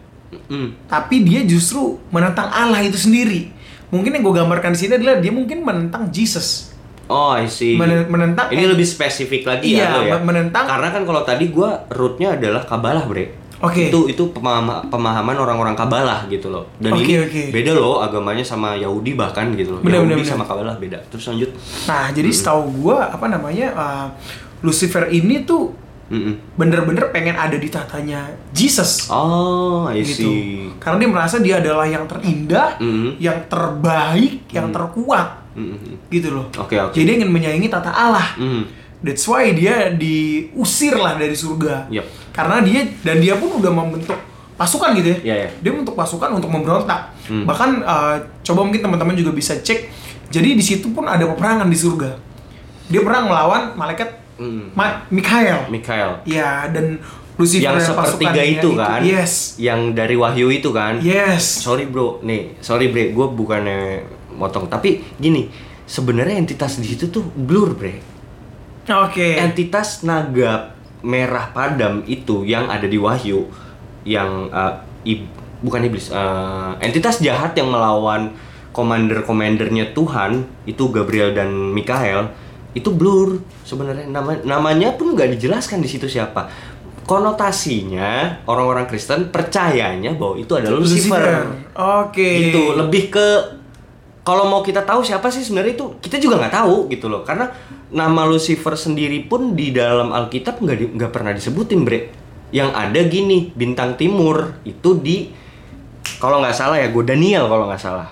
C: Mm,
B: tapi dia justru menentang Allah itu sendiri. Mungkin yang gue gambarkan di sini adalah dia mungkin menentang Jesus.
C: Oh, I see.
B: Menen- menentang-
C: Ini lebih spesifik lagi
B: Iya,
C: ya, lo ya.
B: men- menentang-
C: Karena kan kalau tadi gue rootnya adalah kabalah, Bre.
B: Oke.
C: Itu itu pemahama- pemahaman orang-orang kabalah gitu loh. Dan
B: Oke,
C: ini
B: oke.
C: beda loh agamanya sama Yahudi bahkan gitu loh.
B: Bener,
C: Yahudi
B: bener, bener.
C: sama kabalah beda. Terus lanjut.
B: Nah, jadi setahu gua apa namanya uh, Lucifer ini tuh
C: Mm-mm.
B: bener-bener pengen ada di tahtanya Jesus.
C: Oh, I
B: gitu.
C: see. Mm-hmm.
B: Karena dia merasa dia adalah yang terindah,
C: Mm-mm.
B: yang terbaik, yang terkuat
C: Mm-mm.
B: gitu loh.
C: Mm-hmm. Oh, Oke, oke.
B: Jadi dia ingin menyaingi tata Allah.
C: Mm.
B: That's why dia diusir lah dari surga.
C: Yap.
B: Karena dia dan dia pun udah membentuk pasukan gitu ya.
C: Iya, iya.
B: Dia membentuk pasukan untuk memberontak.
C: Hmm.
B: Bahkan eh, coba mungkin teman-teman juga bisa cek. Jadi di situ pun ada peperangan di surga. Dia perang melawan malaikat
C: Mm.
B: Ma- Mikael.
C: Mikael.
B: Ya, dan Lucifer
C: yang
B: dan
C: sepertiga
B: pasukannya
C: itu kan
B: ya, Yes.
C: yang dari Wahyu itu kan
B: Yes.
C: sorry bro nih sorry bre gue bukannya motong tapi gini sebenarnya entitas di situ tuh blur bre
B: Oke.
C: entitas naga merah padam itu yang ada di Wahyu yang uh, ib- bukan iblis uh, entitas jahat yang melawan komander-komandernya Tuhan itu Gabriel dan Mikael itu blur sebenarnya nama namanya pun nggak dijelaskan di situ siapa konotasinya orang-orang Kristen percayanya bahwa itu adalah Lucifer.
B: Oke.
C: Gitu, lebih ke kalau mau kita tahu siapa sih sebenarnya itu, kita juga nggak tahu gitu loh. Karena nama Lucifer sendiri pun di dalam Alkitab nggak di- nggak pernah disebutin, Bre. Yang ada gini, bintang timur itu di kalau nggak salah ya, gue Daniel kalau nggak salah.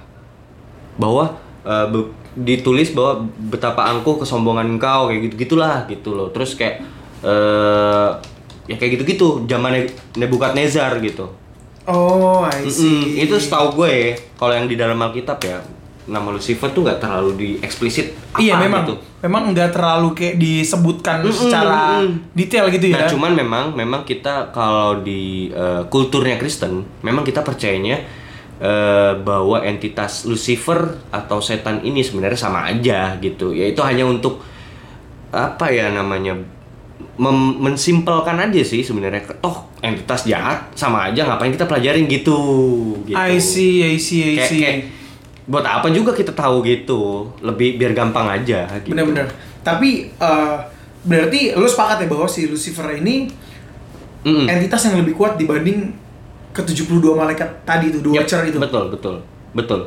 C: Bahwa eh, be- ditulis bahwa betapa angkuh kesombongan kau kayak gitu-gitulah gitu loh. Terus kayak eh ya kayak gitu-gitu zamannya Nebukadnezar gitu.
B: Oh, I
C: Mm-mm,
B: see.
C: itu setahu gue ya, kalau yang di dalam Alkitab ya nama Lucifer tuh nggak terlalu di eksplisit apa
B: Iya memang,
C: gitu.
B: memang nggak terlalu kayak disebutkan
C: Mm-mm,
B: secara
C: mm-mm.
B: detail gitu ya.
C: Nah cuman memang memang kita kalau di eh, kulturnya Kristen memang kita percayanya eh, bahwa entitas Lucifer atau setan ini sebenarnya sama aja gitu. Yaitu hanya untuk apa ya namanya mem- mensimpelkan aja sih sebenarnya toh entitas jahat sama aja ngapain kita pelajarin gitu gitu.
B: I see, I see, I
C: kayak,
B: see.
C: kayak gitu. buat apa juga kita tahu gitu lebih biar gampang aja gitu.
B: Bener-bener. Tapi eh, berarti lu sepakat ya bahwa si Lucifer ini
C: Mm-mm.
B: entitas yang lebih kuat dibanding ke 72 malaikat tadi itu, dua
C: Yep,
B: Watcher gitu. itu.
C: betul betul betul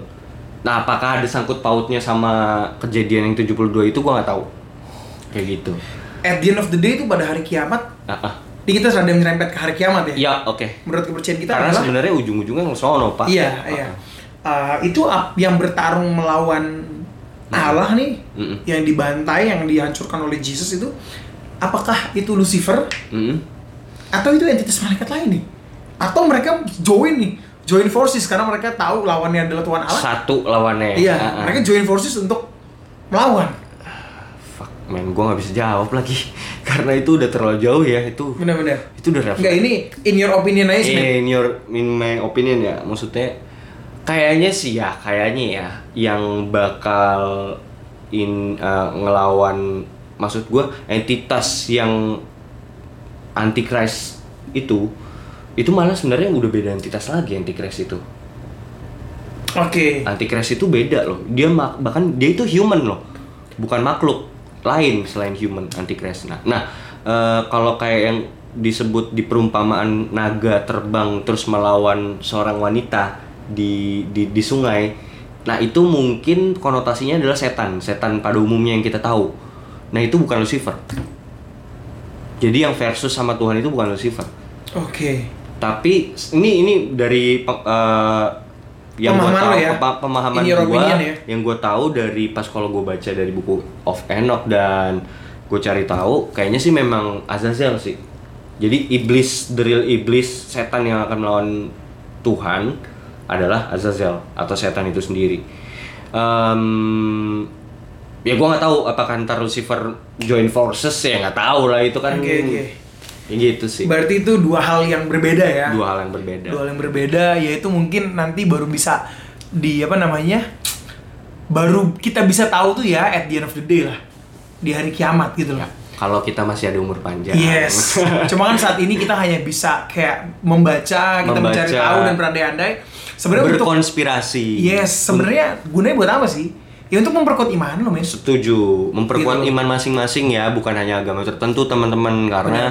C: nah apakah ada sangkut pautnya sama kejadian yang 72 itu gua nggak tahu kayak gitu
B: At the end of the day itu pada hari kiamat,
C: ah, ah.
B: di kita rada menyerempet ke hari kiamat ya.
C: ya oke
B: Menurut kepercayaan kita
C: karena
B: adalah
C: sebenarnya ujung-ujungnya ngesono pak
B: Iya,
C: Ah,
B: iya.
C: ah.
B: Uh, itu ap- yang bertarung melawan Allah nih,
C: Nah. Mm-mm.
B: yang dibantai, yang dihancurkan oleh Yesus itu, apakah itu Lucifer
C: Mm-mm.
B: atau itu entitas malaikat lain nih? Atau mereka join nih, join forces karena mereka tahu lawannya adalah Tuhan Allah.
C: satu lawannya
B: Iya,
C: Ah, ah.
B: mereka join forces untuk melawan.
C: fuck man gua nggak bisa jawab lagi karena itu udah terlalu jauh ya itu
B: Benar-benar.
C: itu udah
B: Enggak ini in your opinion aja sih.
C: in your in my opinion ya maksudnya kayaknya sih ya kayaknya ya yang bakal in uh, ngelawan maksud gua entitas yang antichrist itu itu malah sebenarnya udah beda entitas lagi antichrist itu
B: Oke.
C: Iya. antichrist itu beda loh dia mak- bahkan dia itu human loh bukan makhluk lain selain human antichrist nah nah eh, kalau kayak yang disebut di perumpamaan naga terbang terus melawan seorang wanita di di, di sungai nah itu mungkin konotasinya adalah setan setan pada umumnya yang kita tahu nah itu bukan lucifer jadi yang versus sama Tuhan itu bukan lucifer
B: Oke.
C: tapi ini ini dari pe- eh, yang gue
B: Pemahaman
C: tahu
B: lo ya?
C: pe- pemahaman
B: In your
C: gue
B: opinion ya?
C: yang gue tahu dari pas kalau gue baca dari buku of Enoch dan gue cari tahu kayaknya sih memang Azazel sih jadi iblis the real iblis setan yang akan melawan Tuhan adalah Azazel atau setan itu sendiri Em, ya gue nggak tahu apakah ntar Lucifer join forces ya nggak tahu lah itu kan
B: Oke, oke.
C: Ya gitu sih
B: Berarti itu dua hal yang berbeda ya.
C: dua hal yang berbeda
B: dua hal yang berbeda yaitu mungkin nanti baru bisa di apa namanya baru kita bisa tahu tuh ya at the end of the day lah di hari kiamat gitu loh
C: Ya, kalau kita masih ada umur panjang.
B: yes cuma kan saat ini kita hanya bisa kayak membaca kita
C: Membaca.
B: mencari tahu dan berandai-andai sebenarnya untuk
C: Berkonspirasi.
B: yes sebenarnya gunanya buat apa sih ya untuk memperkuat iman lo
C: Gitu.
B: men
C: setuju memperkuat
B: Gitu.
C: iman masing-masing ya, bukan hanya agama tertentu teman-teman karena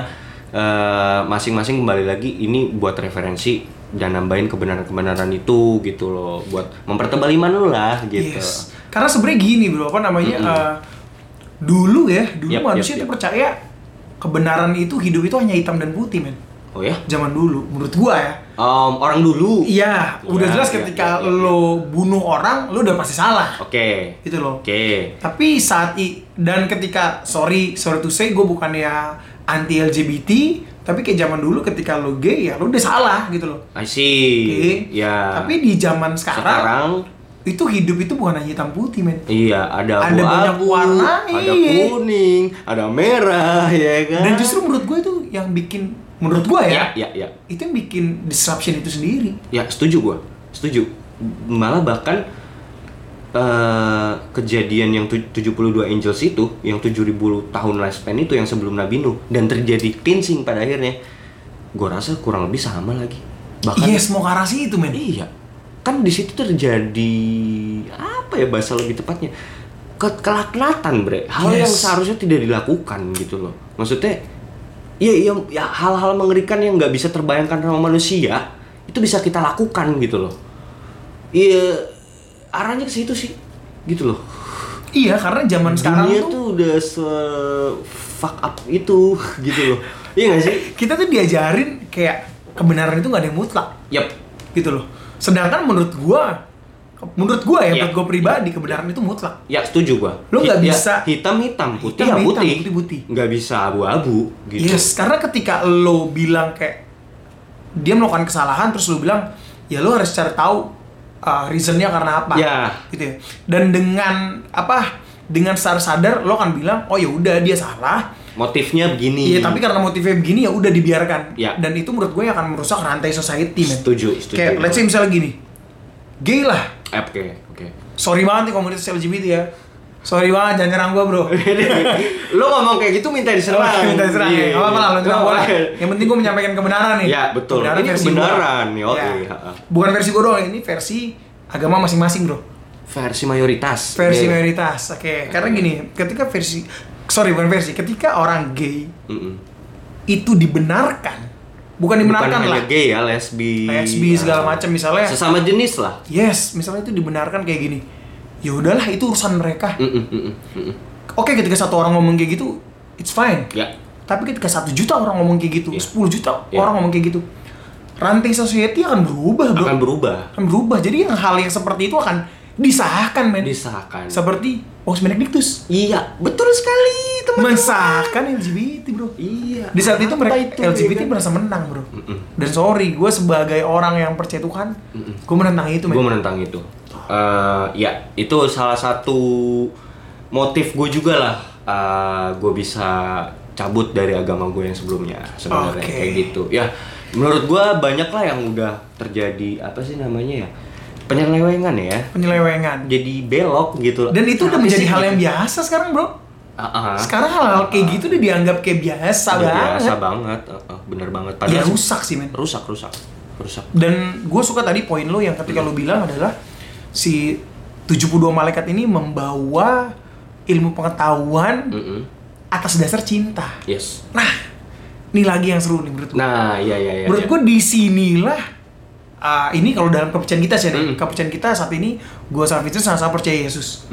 C: eh, masing-masing kembali lagi ini buat referensi dan nambahin kebenaran-kebenaran itu gitu loh, buat mempertebal iman lu lah gitu.
B: Yes. Karena sebenarnya gini bro, apa namanya? eh, dulu ya, dulu
C: Yap,
B: manusia
C: yap,
B: itu
C: yap.
B: percaya kebenaran itu hidup itu hanya hitam dan putih men.
C: Oh ya,
B: Zaman dulu, menurut gua ya.
C: Em, orang dulu.
B: Iya,
C: Ya,
B: udah jelas
C: ya,
B: ketika
C: ya, ya, ya.
B: lo bunuh orang, lo udah pasti salah.
C: Oke,
B: Gitu loh.
C: oke.
B: Tapi saat i dan ketika sorry, sorry to say, gue bukannya anti LGBT, tapi kayak zaman dulu ketika lo gay ya lo udah salah gitu loh. Oke.
C: I see. Ya.
B: Tapi di zaman Iya. sekarang,
C: sekarang
B: itu hidup itu bukan hanya hitam putih men.
C: Iya, ada
B: Ada banyak
C: abu-abu,
B: warna,
C: ada
B: iya.
C: kuning, ada merah, ya kan?
B: Dan justru menurut gue itu yang bikin menurut gue ya,
C: ya, ya, ya,
B: itu yang bikin disruption itu sendiri.
C: ya, setuju gua, setuju. Malah bahkan eh, kejadian yang tu- 72 Angels itu, yang 7000 tahun lifespan itu yang sebelum Nabi Nuh dan terjadi cleansing pada akhirnya, gua rasa kurang lebih sama lagi. Bahkan
B: Iya, yes, mau ke arah situ men.
C: Iya. Kan di situ terjadi apa ya bahasa lebih tepatnya? Ke kelaknatan, Bre. Hal yang
B: Yes.
C: seharusnya tidak dilakukan gitu loh. Maksudnya iya iya ya, hal-hal mengerikan yang nggak bisa terbayangkan sama manusia itu bisa kita lakukan gitu loh iya arahnya ke situ sih gitu loh
B: Iya, karena zaman sekarang
C: dunia
B: tuh,
C: tuh udah se fuck up itu gitu loh iya nggak sih
B: kita tuh diajarin kayak kebenaran itu nggak ada yang mutlak
C: Yap.
B: gitu loh. Sedangkan menurut gua, menurut gua ya,
C: Iya.
B: menurut gua pribadi kebenaran itu mutlak.
C: ya setuju gua
B: Lu nggak
C: Hi- ya,
B: bisa-
C: hitam hitam putih
B: Hitam
C: ya
B: hitam,
C: putih
B: putih putih.
C: nggak bisa abu-abu gitu
B: Yes, karena ketika lo bilang kayak dia melakukan kesalahan terus lo bilang ya lo harus cari tahu uh, reasonnya karena apa,
C: Ya.
B: gitu ya. Dan dengan apa? Dengan sadar sadar lo akan bilang oh ya udah dia salah.
C: motifnya begini
B: Iya, tapi karena motifnya begini ya udah dibiarkan.
C: Ya.
B: Dan itu menurut gue yang akan merusak rantai society, men.
C: setuju setuju
B: Kayak let's say misalnya gini. Gay lah.
C: Eh, oke oke
B: Sorry banget nih komunitas LGBT ya. Sorry banget jangan nyerang gue, Bro.
C: lo ngomong kayak gitu minta diserang
B: Minta diserang
C: Iya,
B: ya. Gak apa-apa lah, lu nyerang gua lah. Yang penting gue menyampaikan kebenaran nih.
C: Ya, betul. Ini
B: versi
C: kebenaran, Iya,
B: gua.
C: yoi.
B: Ya. Bukan versi gue doang, ini versi agama masing-masing, Bro.
C: versi mayoritas
B: Versi
C: Iya.
B: mayoritas. Oke, karena gini, ketika versi sorry bukan versi, ketika orang gay
C: Mm-mm.
B: itu dibenarkan, bukan
C: bukan
B: dibenarkan
C: hanya
B: lah.
C: gay ya lesbi Iya.
B: lesbi segala macam misalnya.
C: sesama jenis lah
B: Yes, misalnya itu dibenarkan kayak gini. Ya udahlah itu urusan mereka.
C: Mm-mm, mm-mm, mm-mm.
B: Oke, ketika satu orang ngomong kayak gitu, it's fine.
C: ya
B: Tapi ketika satu juta orang ngomong kayak gitu,
C: Iya.
B: 10 juta
C: Iya.
B: orang ngomong kayak gitu, rantai society akan berubah, bro.
C: akan berubah
B: Akan berubah. Jadi yang hal yang seperti itu akan disahkan, men.
C: disahkan
B: Seperti Paus Benedictus
C: iya betul sekali teman
B: mensahkan LGBT, bro.
C: iya
B: Di saat itu
C: Apa
B: mereka LGBT
C: ya kan?
B: merasa menang, bro.
C: Mm-mm.
B: Dan sorry, gue sebagai orang yang percaya Tuhan, gue menentang itu,
C: gue
B: men.
C: menentang itu Eh, ya itu salah satu motif gue juga lah gue bisa cabut dari agama gue yang sebelumnya sebenarnya
B: Oke.
C: kayak gitu ya menurut gue banyak lah yang udah terjadi apa sih namanya ya penyelewengan ya
B: Penyelewengan.
C: jadi belok gitu
B: Dan itu udah
C: Apa
B: menjadi
C: sih?
B: hal yang biasa sekarang, bro.
C: Ah, ah.
B: Sekarang hal-hal kayak gitu udah dianggap kayak biasa
C: Udah
B: banget.
C: biasa banget Ah, ah, bener banget
B: Ya
C: padahal
B: rusak sih, men.
C: rusak rusak rusak
B: Dan gue suka tadi poin lo yang ketika lo bilang adalah si 72 malaikat ini membawa ilmu pengetahuan
C: Mm-mm.
B: atas dasar cinta.
C: yes
B: Nah, ini lagi yang seru nih menurut gue.
C: nah ya ya ya
B: menurut gue disinilah uh, ini kalau dalam kepercayaan kita sih, nih
C: Mm.
B: kepercayaan kita saat ini gue sama Vincent sama-sama percaya Yesus.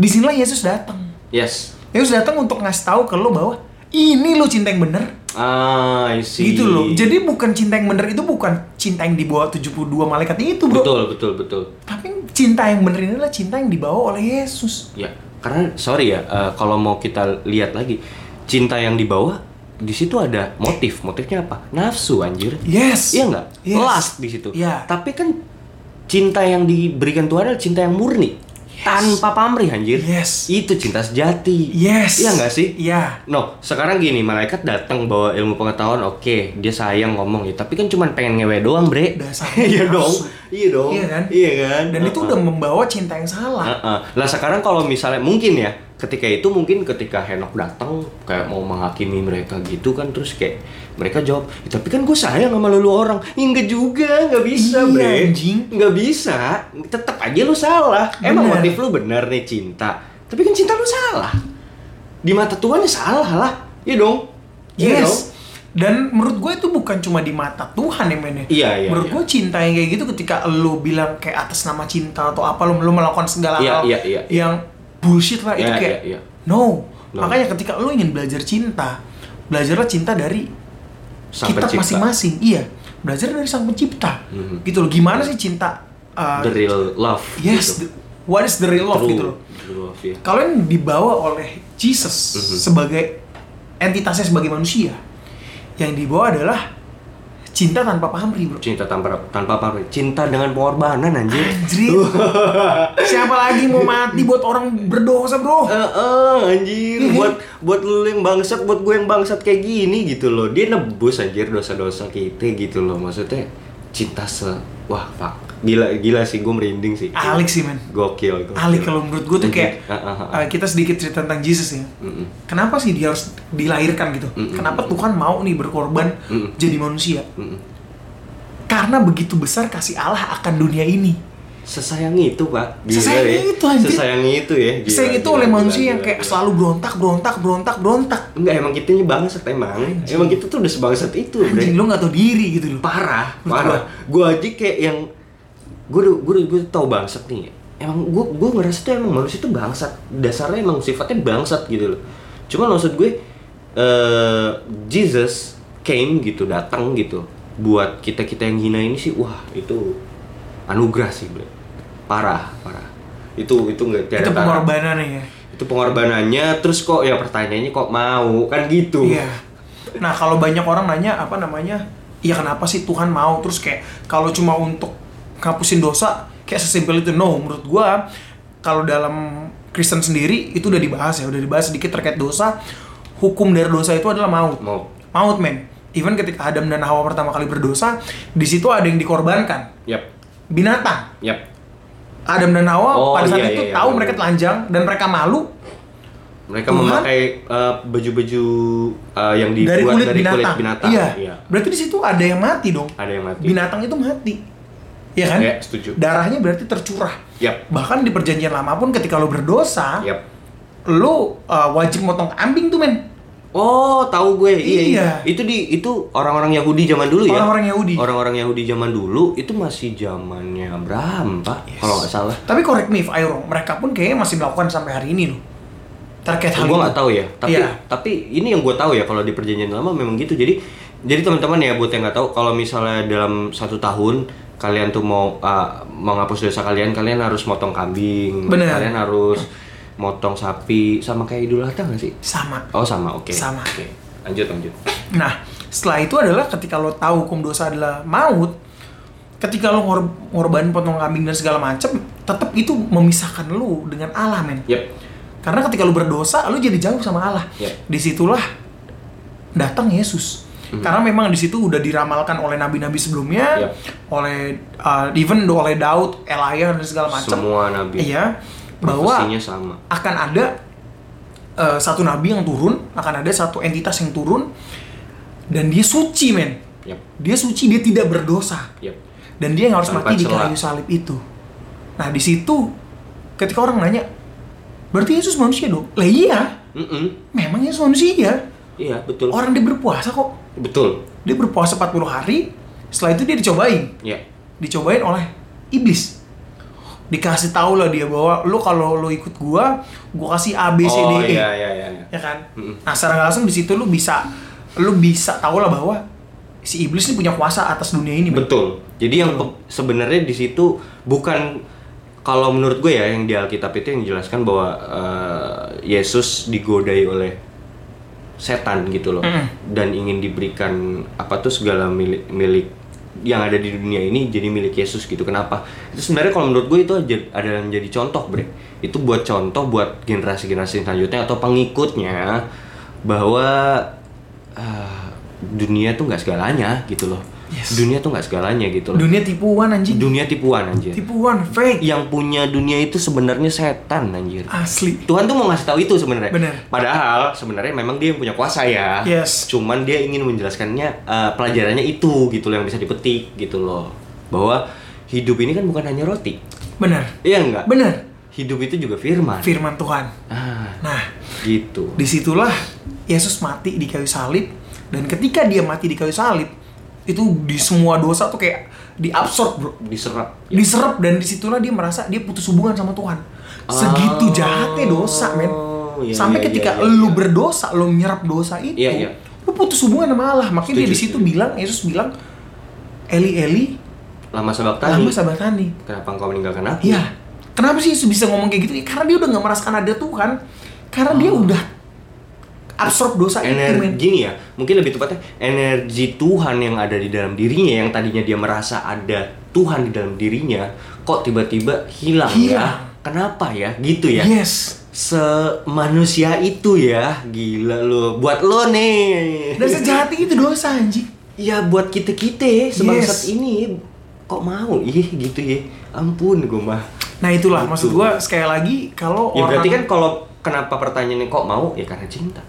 B: Disinilah Yesus datang.
C: yes
B: Yesus datang untuk ngasih tahu ke lo bahwa ini lo cinta yang bener.
C: Ah, I see.
B: Gitu loh. Jadi bukan cinta yang bener itu bukan cinta yang dibawa 72 malaikat itu, Bro.
C: betul, betul, betul.
B: Tapi cinta yang bener ini adalah cinta yang dibawa oleh Yesus.
C: Ya, karena sorry ya, eh, kalau mau kita lihat lagi, cinta yang dibawa di situ ada motif. Motifnya apa? Nafsu, anjir.
B: Yes.
C: Iya nggak?
B: Yes.
C: Lust di situ.
B: Iya.
C: Tapi kan cinta yang diberikan Tuhan adalah cinta yang murni, tanpa pamrih, anjir.
B: Yes.
C: Itu cinta sejati.
B: Yes.
C: Iya nggak sih?
B: Iya.
C: No, sekarang gini, malaikat datang bawa ilmu pengetahuan, oke, dia sayang ngomong ya, tapi kan cuman pengen ngewe doang, bre.
B: Dasarnya
C: iya
B: nafsu.
C: dong, iya dong,
B: Iya kan?
C: iya kan.
B: Dan itu
C: Uh-uh.
B: udah membawa cinta yang salah.
C: Heeh. Lah sekarang kalau misalnya mungkin ya ketika itu mungkin ketika Henok datang kayak mau menghakimi mereka gitu kan terus kayak mereka jawab "Ya, tapi kan gue sayang sama lu lu orang "Ya, enggak juga nggak bisa
B: Iya,
C: bre
B: anjing.
C: nggak bisa tetap aja lu salah emang
B: Bener.
C: motif lu bener nih cinta tapi kan cinta lu salah di mata Tuhan ya salah lah ya dong
B: Yes.
C: Iya dong?
B: Dan menurut gue itu bukan cuma di mata Tuhan ya mainnya.
C: Iya, iya,
B: Menurut
C: iya.
B: gue cinta yang kayak gitu ketika lo bilang kayak atas nama cinta atau apa lo, lo melakukan segala hal
C: Iya, iya, iya, iya.
B: yang bullshit lah itu
C: Iya,
B: kayak
C: iya, iya.
B: no.
C: No.
B: Makanya ketika lo ingin belajar cinta, belajarlah cinta dari
C: Sang
B: kitab
C: pencipta.
B: masing-masing. Iya. Belajar dari sang pencipta.
C: Mhm.
B: Gitu loh. Gimana sih cinta uh,
C: the real love
B: Yes,
C: gitu.
B: the- what is the real love
C: True,
B: gitu loh.
C: true love, ya.
B: Kalian dibawa oleh Jesus
C: Mhm.
B: sebagai entitasnya sebagai manusia. Yang dibawa adalah cinta tanpa pamrih, Bro.
C: cinta tanpa tanpa pamrih cinta dengan pengorbanan anjir
B: Anjrit. Siapa lagi mau mati buat orang berdosa,
C: Eh,
B: Bro?
C: eh, anjir
B: Iya.
C: buat buat lu yang bangsat buat gue yang bangsat kayak gini gitu loh dia nebus anjir dosa-dosa kita gitu loh maksudnya cinta se wah fuck gila gila sih gue merinding sih
B: Alik sih, men.
C: gokil, gokil.
B: Alik kalau menurut gue tuh kayak
C: Anjir, ah, ah, ah.
B: uh, kita sedikit cerita tentang Jesus ya.
C: Mm-mm.
B: Kenapa sih dia harus dilahirkan gitu?
C: Mm-mm.
B: Kenapa Tuhan mau nih berkorban
C: Mm-mm.
B: jadi manusia?
C: Mm-mm.
B: Karena begitu besar kasih Allah akan dunia ini.
C: sesayang itu pak
B: Sesayang
C: ya.
B: itu, anjir.
C: sesayang itu ya gila,
B: Saya itu
C: gila,
B: oleh
C: gila,
B: manusia
C: gila,
B: yang kayak
C: gila.
B: selalu berontak, berontak, berontak, berontak.
C: enggak emang kita ini bangsat emang emang kita tuh udah sebangsat itu bre
B: Anjing lu gak tau diri gitu loh.
C: parah
B: Menurut
C: parah gue aja kayak yang gue gue gue tau bangsat nih emang gue gue ngerasa tuh emang manusia tuh bangsat dasarnya emang sifatnya bangsat gitu loh cuman maksud gue eh Jesus came gitu datang gitu buat kita kita yang hina ini sih wah itu anugerah sih bre parah parah itu itu nggak tiada
B: Itu
C: tara.
B: pengorbanan ya.
C: itu pengorbanannya terus kok ya pertanyaannya kok mau kan gitu
B: Iya. Nah, kalau banyak orang nanya apa namanya? Iya kenapa sih Tuhan mau terus kayak kalau cuma untuk ngapusin dosa kayak sesimpel itu no menurut gua kalau dalam Kristen sendiri itu udah dibahas ya, udah dibahas sedikit terkait dosa. Hukum dari dosa itu adalah maut.
C: Maut.
B: Maut, men. Even ketika Adam dan Hawa pertama kali berdosa, di situ ada yang dikorbankan.
C: yap
B: Binatang.
C: yap
B: Adam dan Hawa
C: Oh,
B: pada saat
C: iya,
B: itu
C: iya, iya,
B: tahu
C: benar.
B: mereka telanjang dan mereka malu
C: Mereka
B: Tuhan?
C: memakai eh, baju-baju eh, yang dibuat
B: dari
C: dari
B: kulit binatang. Iya.
C: iya.
B: Berarti di situ ada yang mati dong.
C: Ada yang mati.
B: Binatang itu mati. Iya kan?
C: Iya, setuju.
B: Darahnya berarti tercurah.
C: Yap.
B: Bahkan di perjanjian lama pun ketika lo berdosa,
C: Yap.
B: lo uh, wajib motong kambing tuh men.
C: Oh, tahu gue. Iya,
B: Iya.
C: Itu di itu orang-orang Yahudi zaman dulu ya.
B: Orang-orang Yahudi.
C: Orang-orang Yahudi zaman dulu itu masih zamannya Abraham, Pak. Kalau nggak salah.
B: Tapi correct me if I wrong, mereka pun kayaknya masih melakukan sampai hari ini loh. Terkait hal
C: gue
B: itu.
C: nggak tahu ya tapi
B: Eh, Iya.
C: tapi ini yang gue tahu ya kalau di perjanjian lama memang gitu jadi jadi teman-teman ya buat yang nggak tahu kalau misalnya dalam satu tahun kalian tuh mau uh, menghapus dosa kalian kalian harus motong kambing
B: Bener.
C: kalian harus motong sapi sama kayak idul adha nggak sih
B: Sama.
C: oh sama oke
B: Sama.
C: oke lanjut lanjut
B: Nah, setelah itu adalah ketika lo tahu hukum dosa adalah maut, ketika lo ngor ngorbanin potong kambing dan segala macem, tetap itu memisahkan lo dengan Allah, men.
C: yep
B: Karena ketika lu berdosa, lu jadi jauh sama Allah.
C: Ya.
B: Disitulah datang Yesus.
C: Mm-hmm.
B: Karena memang di situ udah diramalkan oleh nabi-nabi sebelumnya,
C: Ya.
B: oleh uh, even oleh Daud, Elia dan segala macam.
C: semua nabi
B: Iya, bahwa
C: profesinya sama
B: akan ada uh, satu nabi yang turun, akan ada satu entitas yang turun dan dia suci, men.
C: yep
B: Dia suci, dia tidak berdosa
C: yep
B: dan dia yang harus
C: Iya. Tanpa
B: mati di
C: celah.
B: kayu salib itu. Nah di situ ketika orang nanya, berarti Yesus manusia dong? Lah iya,
C: Mm-mm.
B: memang Yesus manusia.
C: iya betul
B: Orang dia berpuasa kok.
C: betul
B: Dia berpuasa 40 hari, setelah itu dia dicobain.
C: ya
B: Dicobain oleh iblis. Dikasih tahu lah dia bahwa lu kalau lu ikut gua, gua kasih A B C D
C: oh
B: E.
C: iya iya iya
B: Ya kan?
C: Mm-mm.
B: Nah, secara nggak langsung di situ lu bisa lu bisa tahu lah bahwa si iblis ini punya kuasa atas dunia ini. Ben.
C: Betul. Jadi yang pe- sebenarnya di situ bukan kalau menurut gue ya yang di Alkitab itu yang dijelaskan bahwa eh, Yesus digodai oleh setan gitu loh
B: Mm.
C: dan ingin diberikan apa tuh segala milik milik yang ada di dunia ini jadi milik Yesus gitu kenapa itu sebenarnya kalau menurut gue itu aja- ada yang jadi contoh bre itu buat contoh buat generasi-generasi selanjutnya atau pengikutnya bahwa eh, dunia tuh nggak segalanya gitu loh
B: Yes.
C: dunia tuh nggak segalanya gitu loh
B: Dunia tipuan anjing.
C: dunia tipuan anjir
B: Tipuan fake.
C: yang punya dunia itu sebenarnya setan anjir
B: Asli.
C: Tuhan tuh mau ngasih tahu itu sebenarnya.
B: Ah. Bener.
C: Padahal sebenarnya memang dia yang punya kuasa ya.
B: Yes.
C: Cuman dia ingin menjelaskannya eh, pelajarannya itu gitu loh yang bisa dipetik gitu loh. Bahwa hidup ini kan bukan hanya roti.
B: Benar.
C: Iya enggak?
B: Benar.
C: Hidup itu juga firman.
B: Firman Tuhan.
C: ah,
B: Nah,
C: gitu.
B: disitulah Yesus mati di kayu salib dan ketika dia mati di kayu salib itu di semua dosa tuh kayak diabsorb bro
C: Diserap.
B: diserap dan disitulah dia merasa dia putus hubungan sama Tuhan segitu
C: Oh,
B: jahatnya dosa men
C: iya,
B: sampai
C: iya,
B: ketika
C: iya, iya,
B: lu
C: iya.
B: berdosa lu menyerap dosa itu
C: Iya, iya.
B: lu putus hubungan sama Allah makanya dia
C: Setuju,
B: di situ
C: setuju.
B: bilang Yesus bilang Eli Eli
C: Lama sabak
B: lama sabatani
C: Kenapa engkau meninggalkan aku?
B: Iya. Kenapa sih Yesus bisa ngomong kayak gitu? Ya, karena dia udah nggak merasakan ada Tuhan. Karena dia udah absorb dosa itu, men.
C: Oh. energi nih ya mungkin lebih tepatnya energi Tuhan yang ada di dalam dirinya yang tadinya dia merasa ada Tuhan di dalam dirinya kok tiba-tiba
B: Hilang.
C: hilang,
B: Iya.
C: ya kenapa ya gitu ya
B: Yes.
C: semanusia itu ya gila lo buat lo nih
B: Dan sejati itu dosa anjing.
C: ya buat kita kita sebangsat
B: Yes.
C: ini kok mau ih gitu ya ampun gue mah
B: Nah itulah
C: Gitu.
B: maksud gua sekali lagi kalau
C: ya
B: orang
C: berarti kan kalau kenapa pertanyaannya kok mau ya karena cinta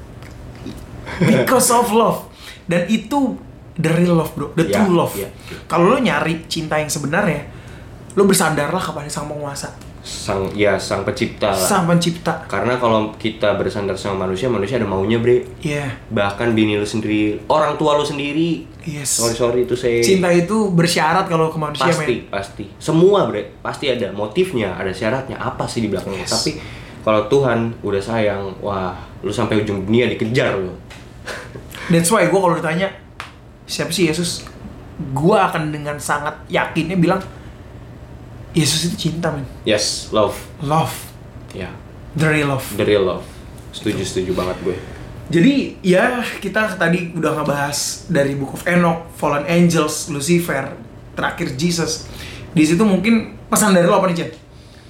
B: because of love dan itu the real love bro, the
C: Ya,
B: true love.
C: ya.
B: Kalau lo nyari cinta yang sebenarnya, Lo bersadarlah kepada sang penguasa,
C: sang ya sang pencipta lah.
B: sang pencipta.
C: Karena kalau kita bersandar sama manusia, manusia ada maunya, Bre.
B: Iya,
C: Bahkan bini lu sendiri, orang tua lu sendiri.
B: yes.
C: Sorry, sorry itu saya
B: Cinta itu bersyarat kalau ke manusia,
C: pasti
B: men.
C: pasti semua bre pasti ada motifnya ada syaratnya apa sih di belakangnya
B: Yes.
C: tapi kalau Tuhan udah sayang wah lu sampai ujung dunia dikejar lu
B: That's why gue kalau ditanya siapa sih Yesus, gue akan dengan sangat yakinnya bilang Yesus itu cinta, men.
C: yes love
B: Love,
C: ya
B: the real love.
C: the real love setuju setuju banget gue
B: Jadi ya kita tadi udah ngebahas dari Book of Enoch, Fallen Angels, Lucifer, terakhir Jesus. Di situ mungkin pesan dari lo apa nih Chen?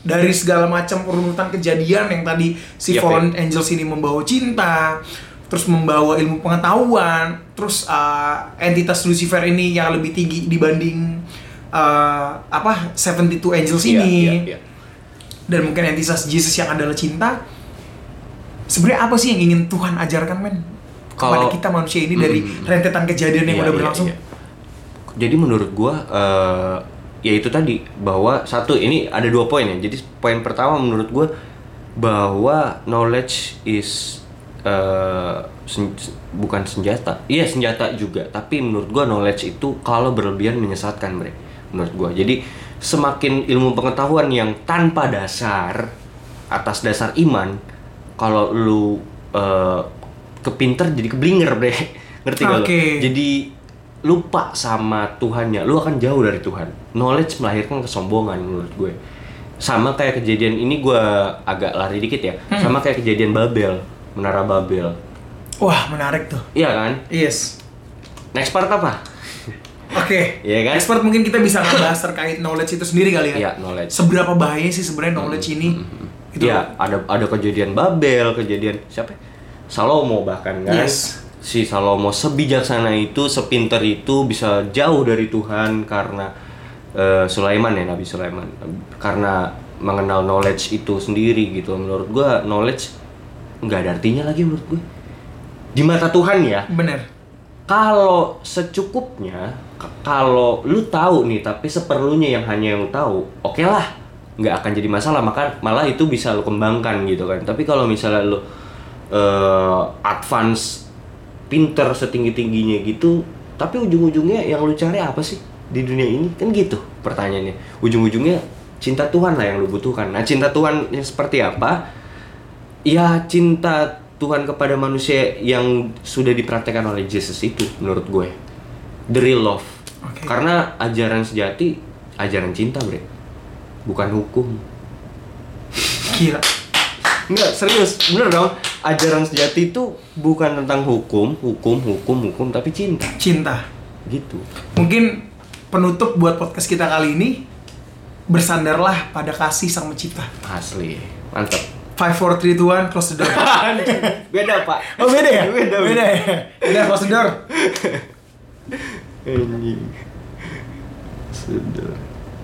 B: Dari segala macam urutan kejadian yang tadi si
C: Iya,
B: Fallen Angels ini membawa cinta, terus membawa ilmu pengetahuan, terus uh, entitas Lucifer ini yang lebih tinggi dibanding uh, apa 72 Angels
C: Iya,
B: ini
C: iya, iya.
B: dan mungkin entitas Jesus yang adalah cinta sebenarnya apa sih yang ingin Tuhan ajarkan men kepada
C: Kalau-
B: kita manusia ini dari
C: Mm.
B: rentetan kejadian yang
C: Iya,
B: udah
C: iya,
B: berlangsung
C: iya. Jadi menurut gua eh, ya itu tadi bahwa satu ini ada dua poin ya. Jadi poin pertama menurut gua bahwa knowledge is eh, sen- sen- bukan senjata. Iya senjata juga, tapi menurut gua knowledge itu kalau berlebihan menyesatkan mereka menurut gua. Jadi semakin ilmu pengetahuan yang tanpa dasar atas dasar iman kalau lu eh, kepinter jadi keblinger bre ngerti gak lu?
B: Oke.
C: jadi lupa sama Tuhannya lu akan jauh dari Tuhan knowledge melahirkan kesombongan menurut gue sama kayak kejadian ini gue agak lari dikit ya sama kayak kejadian Babel menara Babel
B: wah menarik tuh
C: iya kan
B: yes
C: next part apa
B: oke
C: Iya kan?
B: expert mungkin kita bisa ngebahas terkait knowledge itu sendiri kali ya
C: Iya, knowledge.
B: seberapa bahaya sih sebenarnya knowledge ini Gitu
C: Iya, ada ada kejadian Babel, kejadian siapa? ya? Salomo bahkan kan.
B: Yes.
C: Si Salomo sebijaksana itu, sepinter itu bisa jauh dari Tuhan karena eh, Sulaiman ya Nabi Sulaiman. Karena mengenal knowledge itu sendiri gitu. Menurut gua knowledge nggak ada artinya lagi menurut gue. Di mata Tuhan ya
B: bener
C: kalau secukupnya k- kalau lu tahu nih tapi seperlunya yang hanya yang lu tahu oke lah nggak akan jadi masalah maka malah itu bisa lu kembangkan gitu kan tapi kalau misalnya lu eh, advance pinter setinggi tingginya gitu tapi ujung ujungnya yang lu cari apa sih di dunia ini kan gitu pertanyaannya ujung ujungnya cinta Tuhan lah yang lu butuhkan nah cinta Tuhan yang seperti apa ya cinta Tuhan kepada manusia yang sudah dipraktekkan oleh Yesus itu menurut gue the real love
B: Oke.
C: karena ajaran sejati ajaran cinta bre bukan hukum
B: gila
C: Enggak, serius bener dong ajaran sejati itu bukan tentang hukum hukum hukum hukum tapi cinta
B: cinta
C: gitu
B: mungkin penutup buat podcast kita kali ini bersandarlah pada kasih sang pencipta
C: asli mantap
B: five four three two one close the door
C: beda pak
B: Oh beda ya?
C: beda
B: Beda ya? Beda close the door.
C: Anjing. sudah